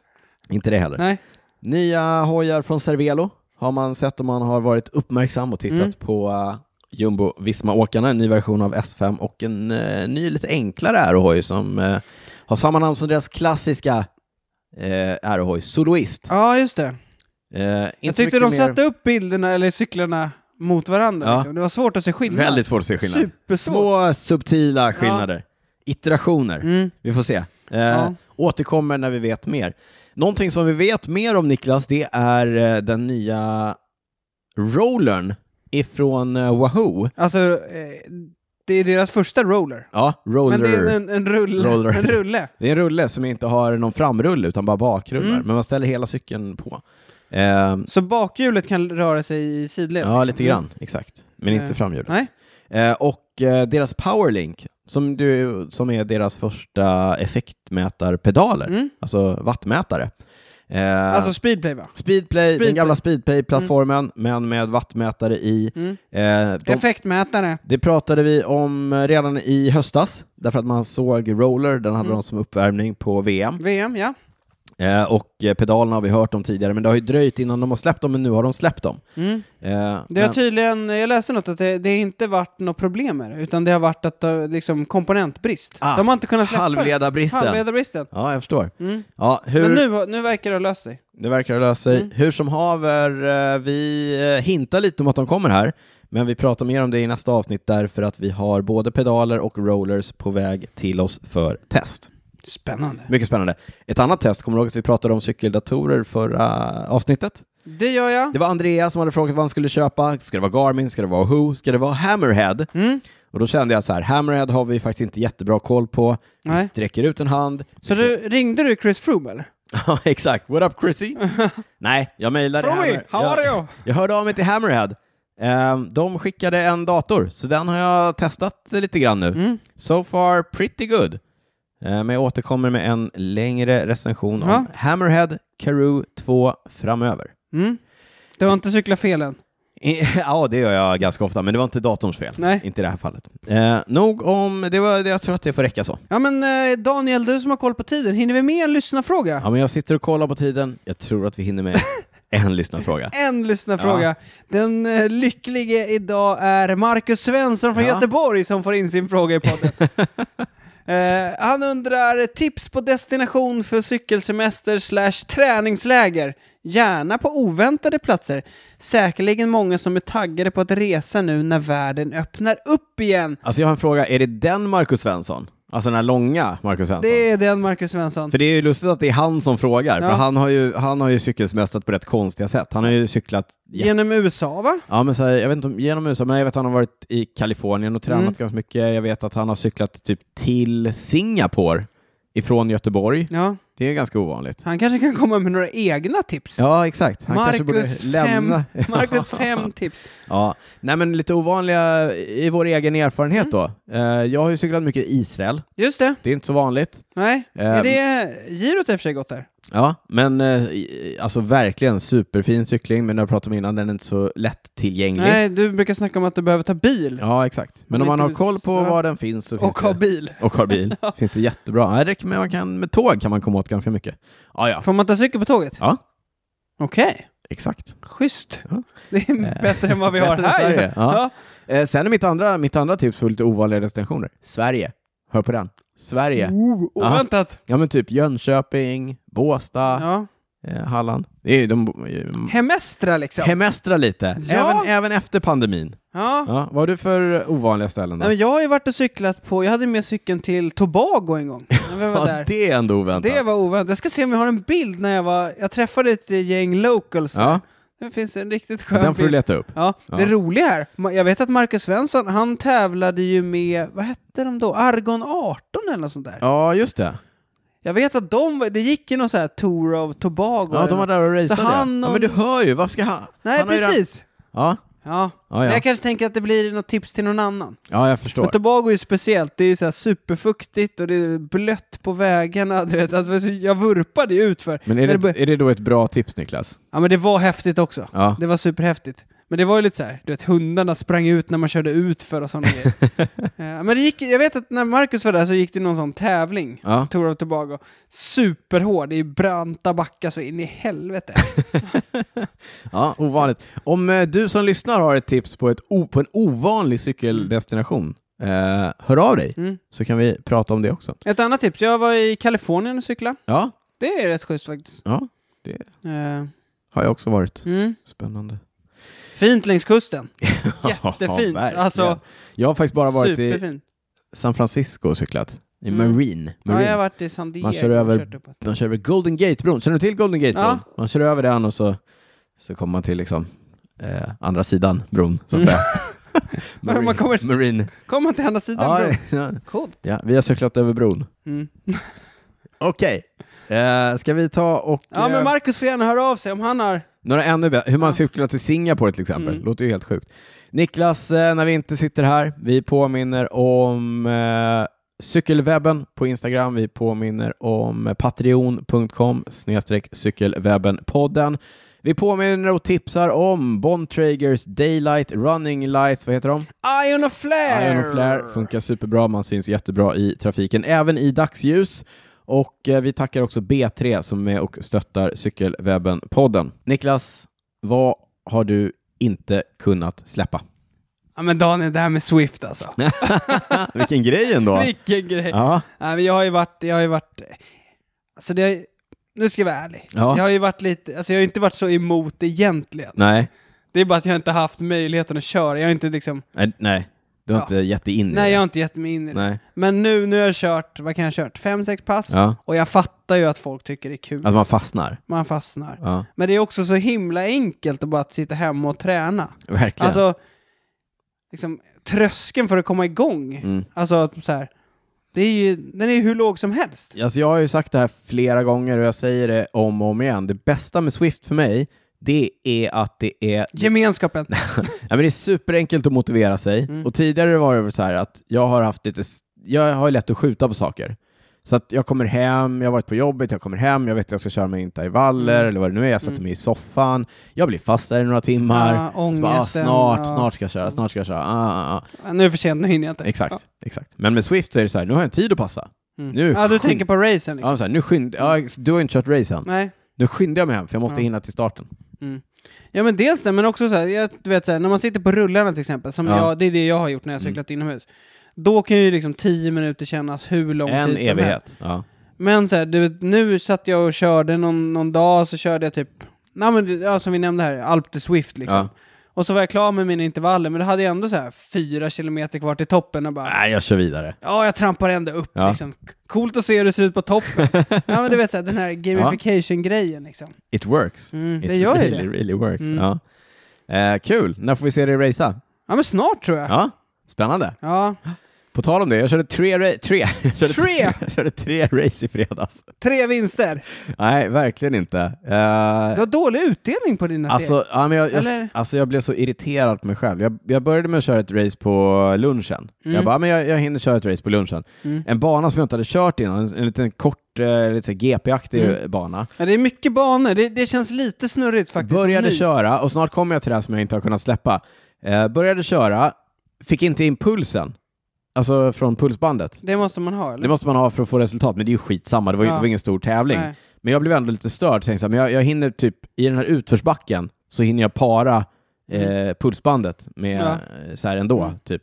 inte det heller.
Nej.
Nya hojar från Cervelo har man sett om man har varit uppmärksam och tittat
Mm.
på eh, Jumbo Visma-åkarna, en ny version av S5 och en eh, ny lite enklare aerohoj som eh, har samma namn som deras klassiska eh, aerohoj, Soloist.
Ja, just det.
Eh,
Jag
inte
tyckte de
mycket mer-
satte upp bilderna, eller cyklarna, mot varandra.
Ja.
Liksom. Det var svårt att se skillnad.
Väldigt svårt att se skillnad.
Supersvårt.
Små subtila skillnader. Iterationer.
Mm.
Vi får se. Eh,
Ja.
Återkommer när vi vet mer. Någonting som vi vet mer om Niklas, det är eh, den nya rollern ifrån eh, Wahoo.
Alltså, eh, Det är deras första roller.
Ja, roller.
Men det är en, en, rulle,
Roller.
en rulle.
Det är en rulle som inte har någon framrulle utan bara bakrullar,
Mm.
men man ställer hela cykeln på. Eh,
Så bakhjulet kan röra sig i sidled?
ja,
liksom.
lite grann, exakt. Men inte
Eh,
framhjulet.
Nej.
Eh, och eh, deras powerlink, som, du, som är deras första effektmätarpedaler,
Mm.
alltså wattmätare. Eh,
Alltså speedplay va?
Speedplay, den
Speedplay.
gamla Speedplay-plattformen, men med wattmätare i.
Mm.
Eh, de,
Effektmätare.
det pratade vi om eh, redan i höstas, därför att man såg Roller, den hade
Mm.
de som uppvärmning på VM.
VM, ja.
Eh, och eh, pedalerna har vi hört om tidigare, men det har ju dröjt innan de har släppt dem, men nu har de släppt dem.
Mm.
Eh,
Det har
men,
tydligen, jag läste något att det, det inte varit något problem med det, utan det har varit att eh, liksom komponentbrist.
Ah,
De har inte kunnat släppa det.
halvledarbristen.
Halvledarbristen.
Ja, jag förstår.
Mm.
Ja, hur...
Men nu, har- nu verkar det ha löst sig.
Det verkar ha löst sig.
Mm.
Hur som haver, eh, vi eh, hintar lite om att de kommer här, men vi pratar mer om det i nästa avsnitt därför att vi har både pedaler och rollers på väg till oss för test.
Spännande.
Mycket spännande. Ett annat test, kommer du ihåg att vi pratade om cykeldatorer förra eh, avsnittet?
Det gör jag.
Det var Andrea som hade frågat vad han skulle köpa. Ska det vara Garmin? Ska det vara Who? Ska det vara Hammerhead?
Mm.
Och då kände jag så här, Hammerhead har vi faktiskt inte jättebra koll på. Vi
Nej.
sträcker ut en hand. Vi
Så
ser-
du, ringde du Chris Froome eller?
[laughs] Ja, exakt. What up
[laughs]
Chrissy? Nej, jag mejlade
Froome,
Hammer-
how
jag-
are you?
Jag hörde av mig till Hammerhead. Ehm, De skickade en dator, så den har jag testat lite grann nu.
Mm.
So far pretty good. Ehm, Men jag återkommer med en längre recension
Ja.
om Hammerhead Karoo 2 framöver.
Mm. Du har inte cyklat fel än?
I- [laughs] ja, det gör jag ganska ofta, men det var inte datorns fel.
Nej.
Inte i det här fallet. Ehm, nog om... Det var, jag tror att det får räcka så.
Ja men eh, Daniel, du som har koll på tiden, hinner vi med en lyssnarfråga?
Ja, men jag sitter och kollar på tiden. Jag tror att vi hinner
[laughs]
med en lyssnarfråga.
En lyssnarfråga. Den eh, lycklige idag är Marcus Svensson från
Ja.
Göteborg som får in sin fråga
[laughs]
i podden. Eh, han undrar tips på destination för cykelsemester slash träningsläger. Gärna på oväntade platser. Säkerligen många som är taggade på att resa nu när världen öppnar upp igen.
Alltså jag har en fråga, är det den Marcus Svensson? Alltså den här långa Marcus Svensson?
Det är den Marcus Svensson.
Alltså. För det är ju lustigt att det är han som frågar,
Ja.
för han har, ju, han har ju cykelsemestrat på rätt konstiga sätt. Han har ju cyklat ja,
Genom USA va?
ja, men så här, jag vet inte, om- genom USA, men jag vet att han har varit i Kalifornien och tränat
Mm.
ganska mycket. Jag vet att han har cyklat typ till Singapore ifrån Göteborg.
Ja,
Det är ganska ovanligt.
han kanske kan komma med några egna tips.
Ja, exakt. Han kanske borde [laughs]
Marcus,
lämna.
fem, Marcus fem tips.
Ja. Nej, men lite ovanliga i vår egen erfarenhet då. Eh, Jag har ju cyklat mycket i Israel.
Just det.
Det är inte så vanligt.
Nej,
Ehm.
är det girot i och för sig gått där?
Ja, men eh, i- alltså verkligen superfin cykling, men när jag pratade om innan, den är inte så lättillgänglig.
Nej, du brukar snacka om att du behöver ta bil.
Ja, exakt. Men om
Lite
man har koll på
ja.
var den finns så finns
och ha
det...
bil.
Och har bil.
[laughs]
finns det jättebra. Nej, det räcker med, man kan, med tåg kan man komma åt ganska mycket. Ja, ja.
Får man ta cykel på tåget?
Ja.
Okej,
Exakt.
schysst.
Ja. Ehm.
Det är bättre än vad vi
[laughs]
har
Bättre än
här.
Sverige, ja.
Ja.
Eh, sen är mitt andra, mitt andra tips för lite ovanliga destinationer. Sverige. Hör på den. Sverige.
Oh, oväntat.
Ja, men typ Jönköping, Båstad,
Ja.
eh, Halland. Det är ju de...
Hemestra liksom.
Hemestra lite,
Ja.
även, även efter pandemin.
ja.
Ja, vad har du för ovanliga ställen? Då?
Nej, men jag har ju varit och cyklat på, jag hade med cykeln till Tobago en gång. När vi var
Ja,
där.
det är ändå oväntat.
Det var oväntat. Jag ska se om jag har en bild när jag var, jag träffade ett gäng locals.
ja,
Det finns en riktigt skön
den får du
bild.
leta upp.
Ja, det
Ja.
roliga här, ma- jag vet att Marcus Svensson, han tävlade ju med, vad hette de då, Argon 18 eller något sånt där.
Ja, just det.
Jag vet att de, var- det gick ju någon sån här Tour of Tobago.
Ja,
eller
de var
något.
där och
Så
raceade.
han
ja,
och-
men du hör ju, varför ska han...
Nej,
han har ju redan-
precis.
Ja.
Ja.
Ja,
men
ja.
jag kanske tänker att det blir något tips till någon annan.
ja, jag förstår.
Men Tobago är ju speciellt, det är ju så här superfuktigt och det är blött på vägarna. Du vet, alltså, jag vurpade ju utför.
Men är
När
det,
bör-
är det då ett bra tips, Niklas?
Ja men det var häftigt också.
Ja.
Det var superhäftigt. Men det var ju lite så här, du vet hundarna sprang ut när man körde ut för och sådana
[laughs]
grejer. Eh, men det gick, jag vet att när Marcus var där så gick det någon sån tävling,
Ja.
Tour of Tobago. Superhård, det är branta backar så in i
[laughs]
helvete.
ja, ovanligt. Om eh, du som lyssnar har ett tips på, ett o- på en ovanlig cykeldestination, eh, hör av dig
Mm.
så kan vi prata om det också.
Ett annat tips, jag var i Kalifornien och cyklade.
Ja,
Det är rätt schysst faktiskt.
ja det
Eh,
har jag också varit.
mm.
Spännande.
Fint längs kusten. [laughs] Jättefint.
Ja, verkligen.
alltså,
jag har faktiskt bara varit i
superfint.
San Francisco och cyklat. I
Mm.
Marine.
Ja,
Marine.
jag har varit i San Diego.
Man kör
och
över-
kört uppåt.
Man kör över Golden Gate-bron. Känner du till Golden Gate-bron?
Ja.
Man kör över den
[laughs]
och så, så kommer man till liksom, eh, andra sidan bron, så att säga.
Bara man kommer,
Marine.
kommer man till andra sidan
Ja,
bron.
ja.
Coolt.
ja, vi har cyklat över bron.
Mm.
Okej. Eh, ska vi ta och...
Ja,
eh,
men Marcus får gärna höra av sig om han har...
Några ännu bättre. Hur man cyklar till Singapore till exempel.
Mm.
Låter ju helt sjukt. Niklas, eh, när vi inte sitter här, vi påminner om eh, cykelwebben på Instagram. Vi påminner om patreon.com snedstreck cykelwebbenpodden. Vi påminner och tipsar om Bontragers Daylight Running Lights. Vad heter de?
Ion och Flair!
Ion och flare funkar superbra, man syns jättebra i trafiken, även i dagsljus. Och eh, vi tackar också B3 som är med och stöttar Cykelwebben-podden. Niklas, vad har du inte kunnat släppa?
Ja, men Daniel, det här med Swift alltså.
[laughs] Vilken grej ändå!
Vilken grej!
Ja,
Nej, men jag har ju varit, jag har ju varit, alltså det, har ju- nu ska jag vara ärlig.
Ja.
Jag har ju varit lite, alltså jag har ju inte varit så emot egentligen.
nej,
Det är bara att jag inte haft möjligheten att köra, jag har inte liksom,
nej, nej. du har
Ja.
inte gett dig in i
nej
det.
jag har inte gett mig in i det.
nej.
Men nu, nu har jag kört, vad kan jag ha kört, fem, sex pass?
Ja.
Och jag fattar ju att folk tycker det är kul.
Att man fastnar.
Man fastnar.
Ja,
Men det är också så himla enkelt att bara sitta hemma och träna.
verkligen.
Alltså, liksom, tröskeln för att komma igång,
Mm.
alltså så här, det är ju, den är ju hur låg som helst.
Alltså jag har ju sagt det här flera gånger och jag säger det om och om igen. Det bästa med Swift för mig, det är att det är
Gemenskapen.
Ja, men det är superenkelt att motivera sig.
Mm.
Och tidigare var det väl så här att jag har haft lite, s- jag har ju lätt att skjuta på saker. Så att jag kommer hem, jag har varit på jobbet, jag kommer hem, jag vet att jag ska köra mina intervaller
Mm.
eller vad det nu är, jag sätter mig i soffan, jag blir fast där i några timmar.
Ja,
så bara, ah,
ångesten,
snart,
ja.
snart ska jag köra, snart ska jag köra. Ah, ah, ah.
Ja, Nu är det för sent, nu hinner jag inte.
Exakt,
Ja.
exakt. Men med Swift så är det så här, nu har jag en tid att passa.
Mm.
Nu
ja, du
skynd-
tänker på racen liksom.
Ja, så här, nu skynd... ja, du har ju inte kört race än.
Nej.
Nu skyndar jag mig hem för jag måste
Ja.
hinna till starten.
Ja men dels det, men också så här, jag, du vet så här, när man sitter på rullarna till exempel, som
Ja. Mm.
jag, det är det jag har gjort när jag cyklat inomhus. Då kan ju liksom 10 minuter kännas hur lång tid
En
som helst.
evighet. Ja.
Men så här, du vet, nu satt jag och körde någon, någon dag, så körde jag typ, nej men det- ja, som vi nämnde här, Alp de Swift liksom.
Ja.
Och så var jag klar med mina intervaller, men då hade jag ändå så här fyra kilometer kvar till toppen och bara,
Nej, jag kör vidare.
Ja, jag trampar ändå upp
Ja.
liksom. Coolt att se hur det ser ut
[laughs]
på toppen. ja, men du vet så här, den här gamification-grejen liksom.
It works.
Mm,
It
det gör ju
really,
det.
really works.
Mm.
Ja. Eh, kul! När får vi se dig racea?
Ja, men snart tror jag. Ja.
Ja, spännande. På tal om det, jag körde tre, ra- tre. [laughs] Jag körde
Tre!
jag körde tre race i fredags.
Tre vinster.
Nej, verkligen inte.
Du
Eh,
har dålig utdelning på dina serier.
alltså, ja, men jag, jag,
Eller?
alltså, jag blev så irriterad på mig själv. Jag, jag började med att köra ett race på lunchen. Jag bara, men jag, jag hinner köra ett race på lunchen.
Mm.
En bana som jag inte hade kört innan, en, en liten kort, eh, lite så här GP-aktig
Mm.
bana.
Ja, det är mycket banor. Det, det känns lite snurrigt faktiskt.
Började
Nu.
köra, och snart kommer jag till det här som jag inte har kunnat släppa. Eh, började köra, fick inte in pulsen, alltså från pulsbandet.
Det måste man ha, eller?
Det måste man ha för att få resultat, men det är ju skitsamma, det var, ju,
Ja.
det var ingen stor tävling.
Nej.
Men jag blev ändå lite störd, tänkte jag, men jag, jag hinner typ, i den här utförsbacken så hinner jag para eh, pulsbandet med
Mm. Ja.
eh, så här ändå,
Mm.
typ.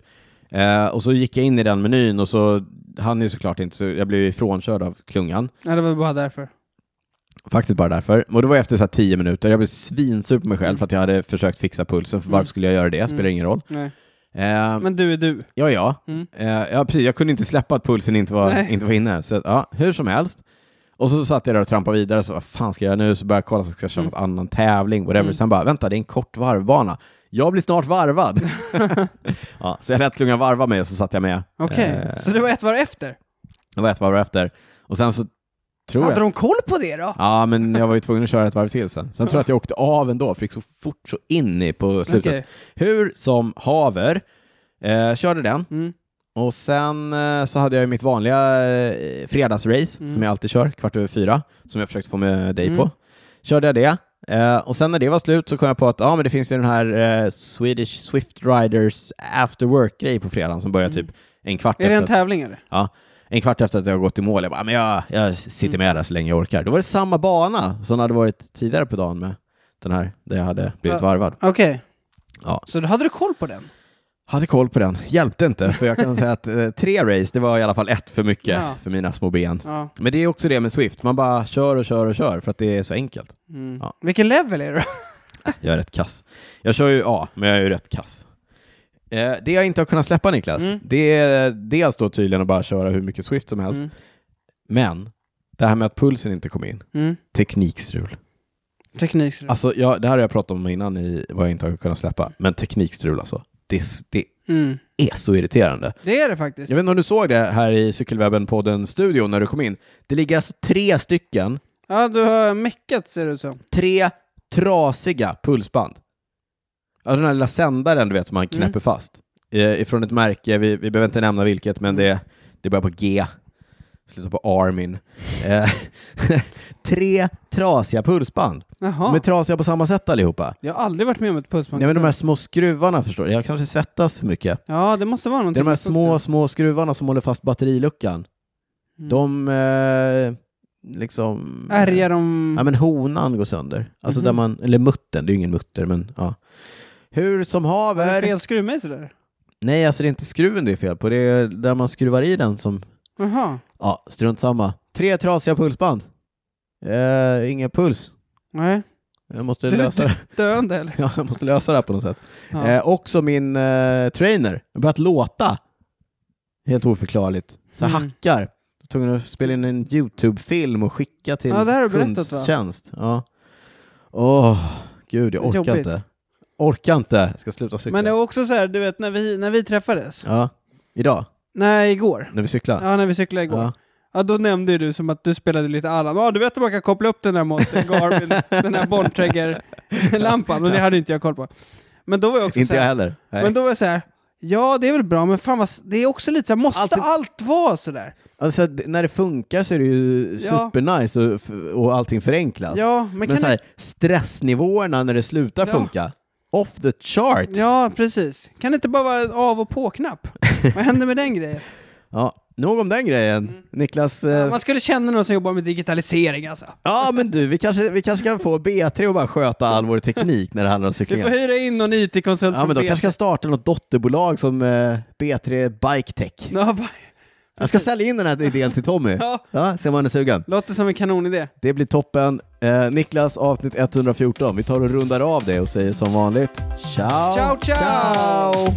Eh, och så gick jag in i den menyn och så han ju såklart inte, så jag blev ju ifrånkörd av klungan.
Ja, det var bara därför.
Faktiskt bara därför. Och det var efter så här tio minuter. Jag blev svinsur på mig själv för att jag hade försökt fixa pulsen. För varför skulle jag göra det? Spelar ingen roll.
Nej.
Eh,
Mm. Men du är du.
ja, ja.
Mm.
Eh, ja, precis. Jag kunde inte släppa att pulsen inte var,
Nej.
inte var inne. Så att, ja, hur som helst. Och så satt jag där och trampade vidare. Så vad fan ska jag göra nu? Så började jag kolla så ska jag köra
Mm.
något annan tävling. Whatever. Sen bara, vänta, det är en kort varvbana. Jag blir snart varvad.
[laughs]
ja, så jag lät klungan varva mig och så satt jag med.
Okej.
Eh,
Så det var ett var efter.
det var ett varv efter. Och sen så tror jag...
Hade de koll på det då?
Ja, men jag var ju tvungen att köra ett varv till sen. Sen tror jag att jag åkte av ändå, för det gick så fort så in i på slutet.
Okej.
Hur som haver, eh, körde den.
Mm.
Och sen eh, så hade jag ju mitt vanliga eh, fredagsrace,
Mm.
som jag alltid kör, kvart över fyra, som jag försökt få med dig
Mm.
på. Körde jag det. Eh, och sen när det var slut så kom jag på att ja men det finns ju den här eh, Swedish Swift Riders After Work-grej på fredagen som börjar typ en kvart
Mm. Är det en
efter. att-
tävling eller?
Ja. En kvart efter att jag har gått i mål, jag bara, "Ah, men jag, jag sitter med där så länge jag orkar. Då var det samma bana som det hade varit tidigare på dagen med den här, där jag hade blivit
Ja.
varvad.
Okej.
Ja.
Så då hade du koll på den?
Hade koll på den, hjälpte inte, för jag kan säga att eh, tre race, det var i alla fall ett för mycket
Ja.
för mina små ben.
Ja.
Men det är också det med Swift, man bara kör och kör och kör för att det är så enkelt.
Mm.
Ja.
Vilken level är det då?
Jag är rätt kass. Jag kör ju A, men jag är ju rätt kass. Eh, det jag inte har kunnat släppa Niklas,
Mm.
det är dels då tydligen att bara köra hur mycket Swift som helst,
Mm.
men det här med att pulsen inte kom in,
Mm.
teknikstrul.
Teknikstrul. Mm.
Alltså, jag, det här har jag pratat om innan i vad jag inte har kunnat släppa, men teknikstrul alltså. det, det
Mm.
är så irriterande.
Det är det faktiskt.
Jag vet inte om du såg det här i Cykelwebben-podden studion när du kom in. Det ligger alltså tre stycken,
Ja, du har meckat ser det ut som.
tre trasiga pulsband. Ja, den här lilla sändaren du vet som man knäpper
Mm.
fast. Eh, Ifrån ett märke, vi, vi behöver inte nämna vilket, men det, det börjar på G. Slutar på Armin. Eh, [laughs] tre trasiga pulsband.
Jaha.
De är trasiga på samma sätt allihopa.
Jag har aldrig varit med om ett pussband.
Nej men de här små skruvarna förstår du, jag kanske svettas för mycket.
Ja, det måste vara
Det
någonting.
är de här små, små skruvarna som håller fast batteriluckan.
Mm.
De eh, liksom...
Ärgar de...
Ja men honan går sönder. Alltså
Mhm.
där man, eller muttern, det är ju ingen mutter men ja. Hur som
Har
haver.
du fel skruvmejsel där?
Nej alltså det är inte skruven det är fel på, det är där man skruvar i den som,
Jaha.
ja strunt samma. Tre trasiga pulsband. Eh, ingen puls.
Nej.
Jag måste,
Du-
lösa, det.
Döende eller?
[laughs] Ja, jag måste lösa det här på något sätt.
Ja.
Eh, också min eh, trainer, har börjat låta. Helt oförklarligt. Så
Mm.
hackar. Då tog hon och spelade in en YouTube-film och skicka till
Ja, det här har du berättat, va?
kundtjänst. Ja. Åh, gud, jag orkar
Jobbigt.
inte. Orkar inte. Jag ska sluta cykla.
men det var också så här, du vet när vi, när vi träffades.
Ja, idag,
Nej, igår.
när vi cyklar.
Ja, när vi cyklade igår.
Ja.
Ja. då nämnde ju du som att du spelade lite Allan. Ja, du vet att man kan koppla upp den där mot Garmin, den här Bontrager-lampan. Och det hade inte jag koll på. Men då var jag också
Inte
så
jag
här,
heller. Nej.
Men då var jag så här, ja det är väl bra, men fan vad, s- det är också lite så här, måste
Alltid-
allt vara sådär?
Alltså, d- när det funkar så är det ju
Ja.
supernice och, f- och allting förenklas.
Ja, men,
Alltså, men
kan
så här, stressnivåerna när det slutar
Ja.
funka, off the charts.
det, Ja, precis. Kan det inte bara vara en av och på-knapp? vad händer med den grejen?
Ja, nog om den grejen. Niklas, eh,
Mm. Ja, Man skulle känna någon som jobbar med digitalisering alltså.
ja men du, vi kanske, vi kanske kan få B3 och bara sköta all vår teknik när det handlar om
Du får
cyklingar.
hyra in någon IT-konsult
Ja men
från
de
BP.
kanske kan starta något dotterbolag som eh, B3 Bike Tech.
Ja, bara-
Jag ska sälja in den här idén till Tommy.
Ja.
Ja, se om han är sugen.
Låter som en kanonidé.
Det blir toppen. Eh, Niklas, avsnitt 114. Vi tar och rundar av det och säger som vanligt, ciao!
Ciao, ciao!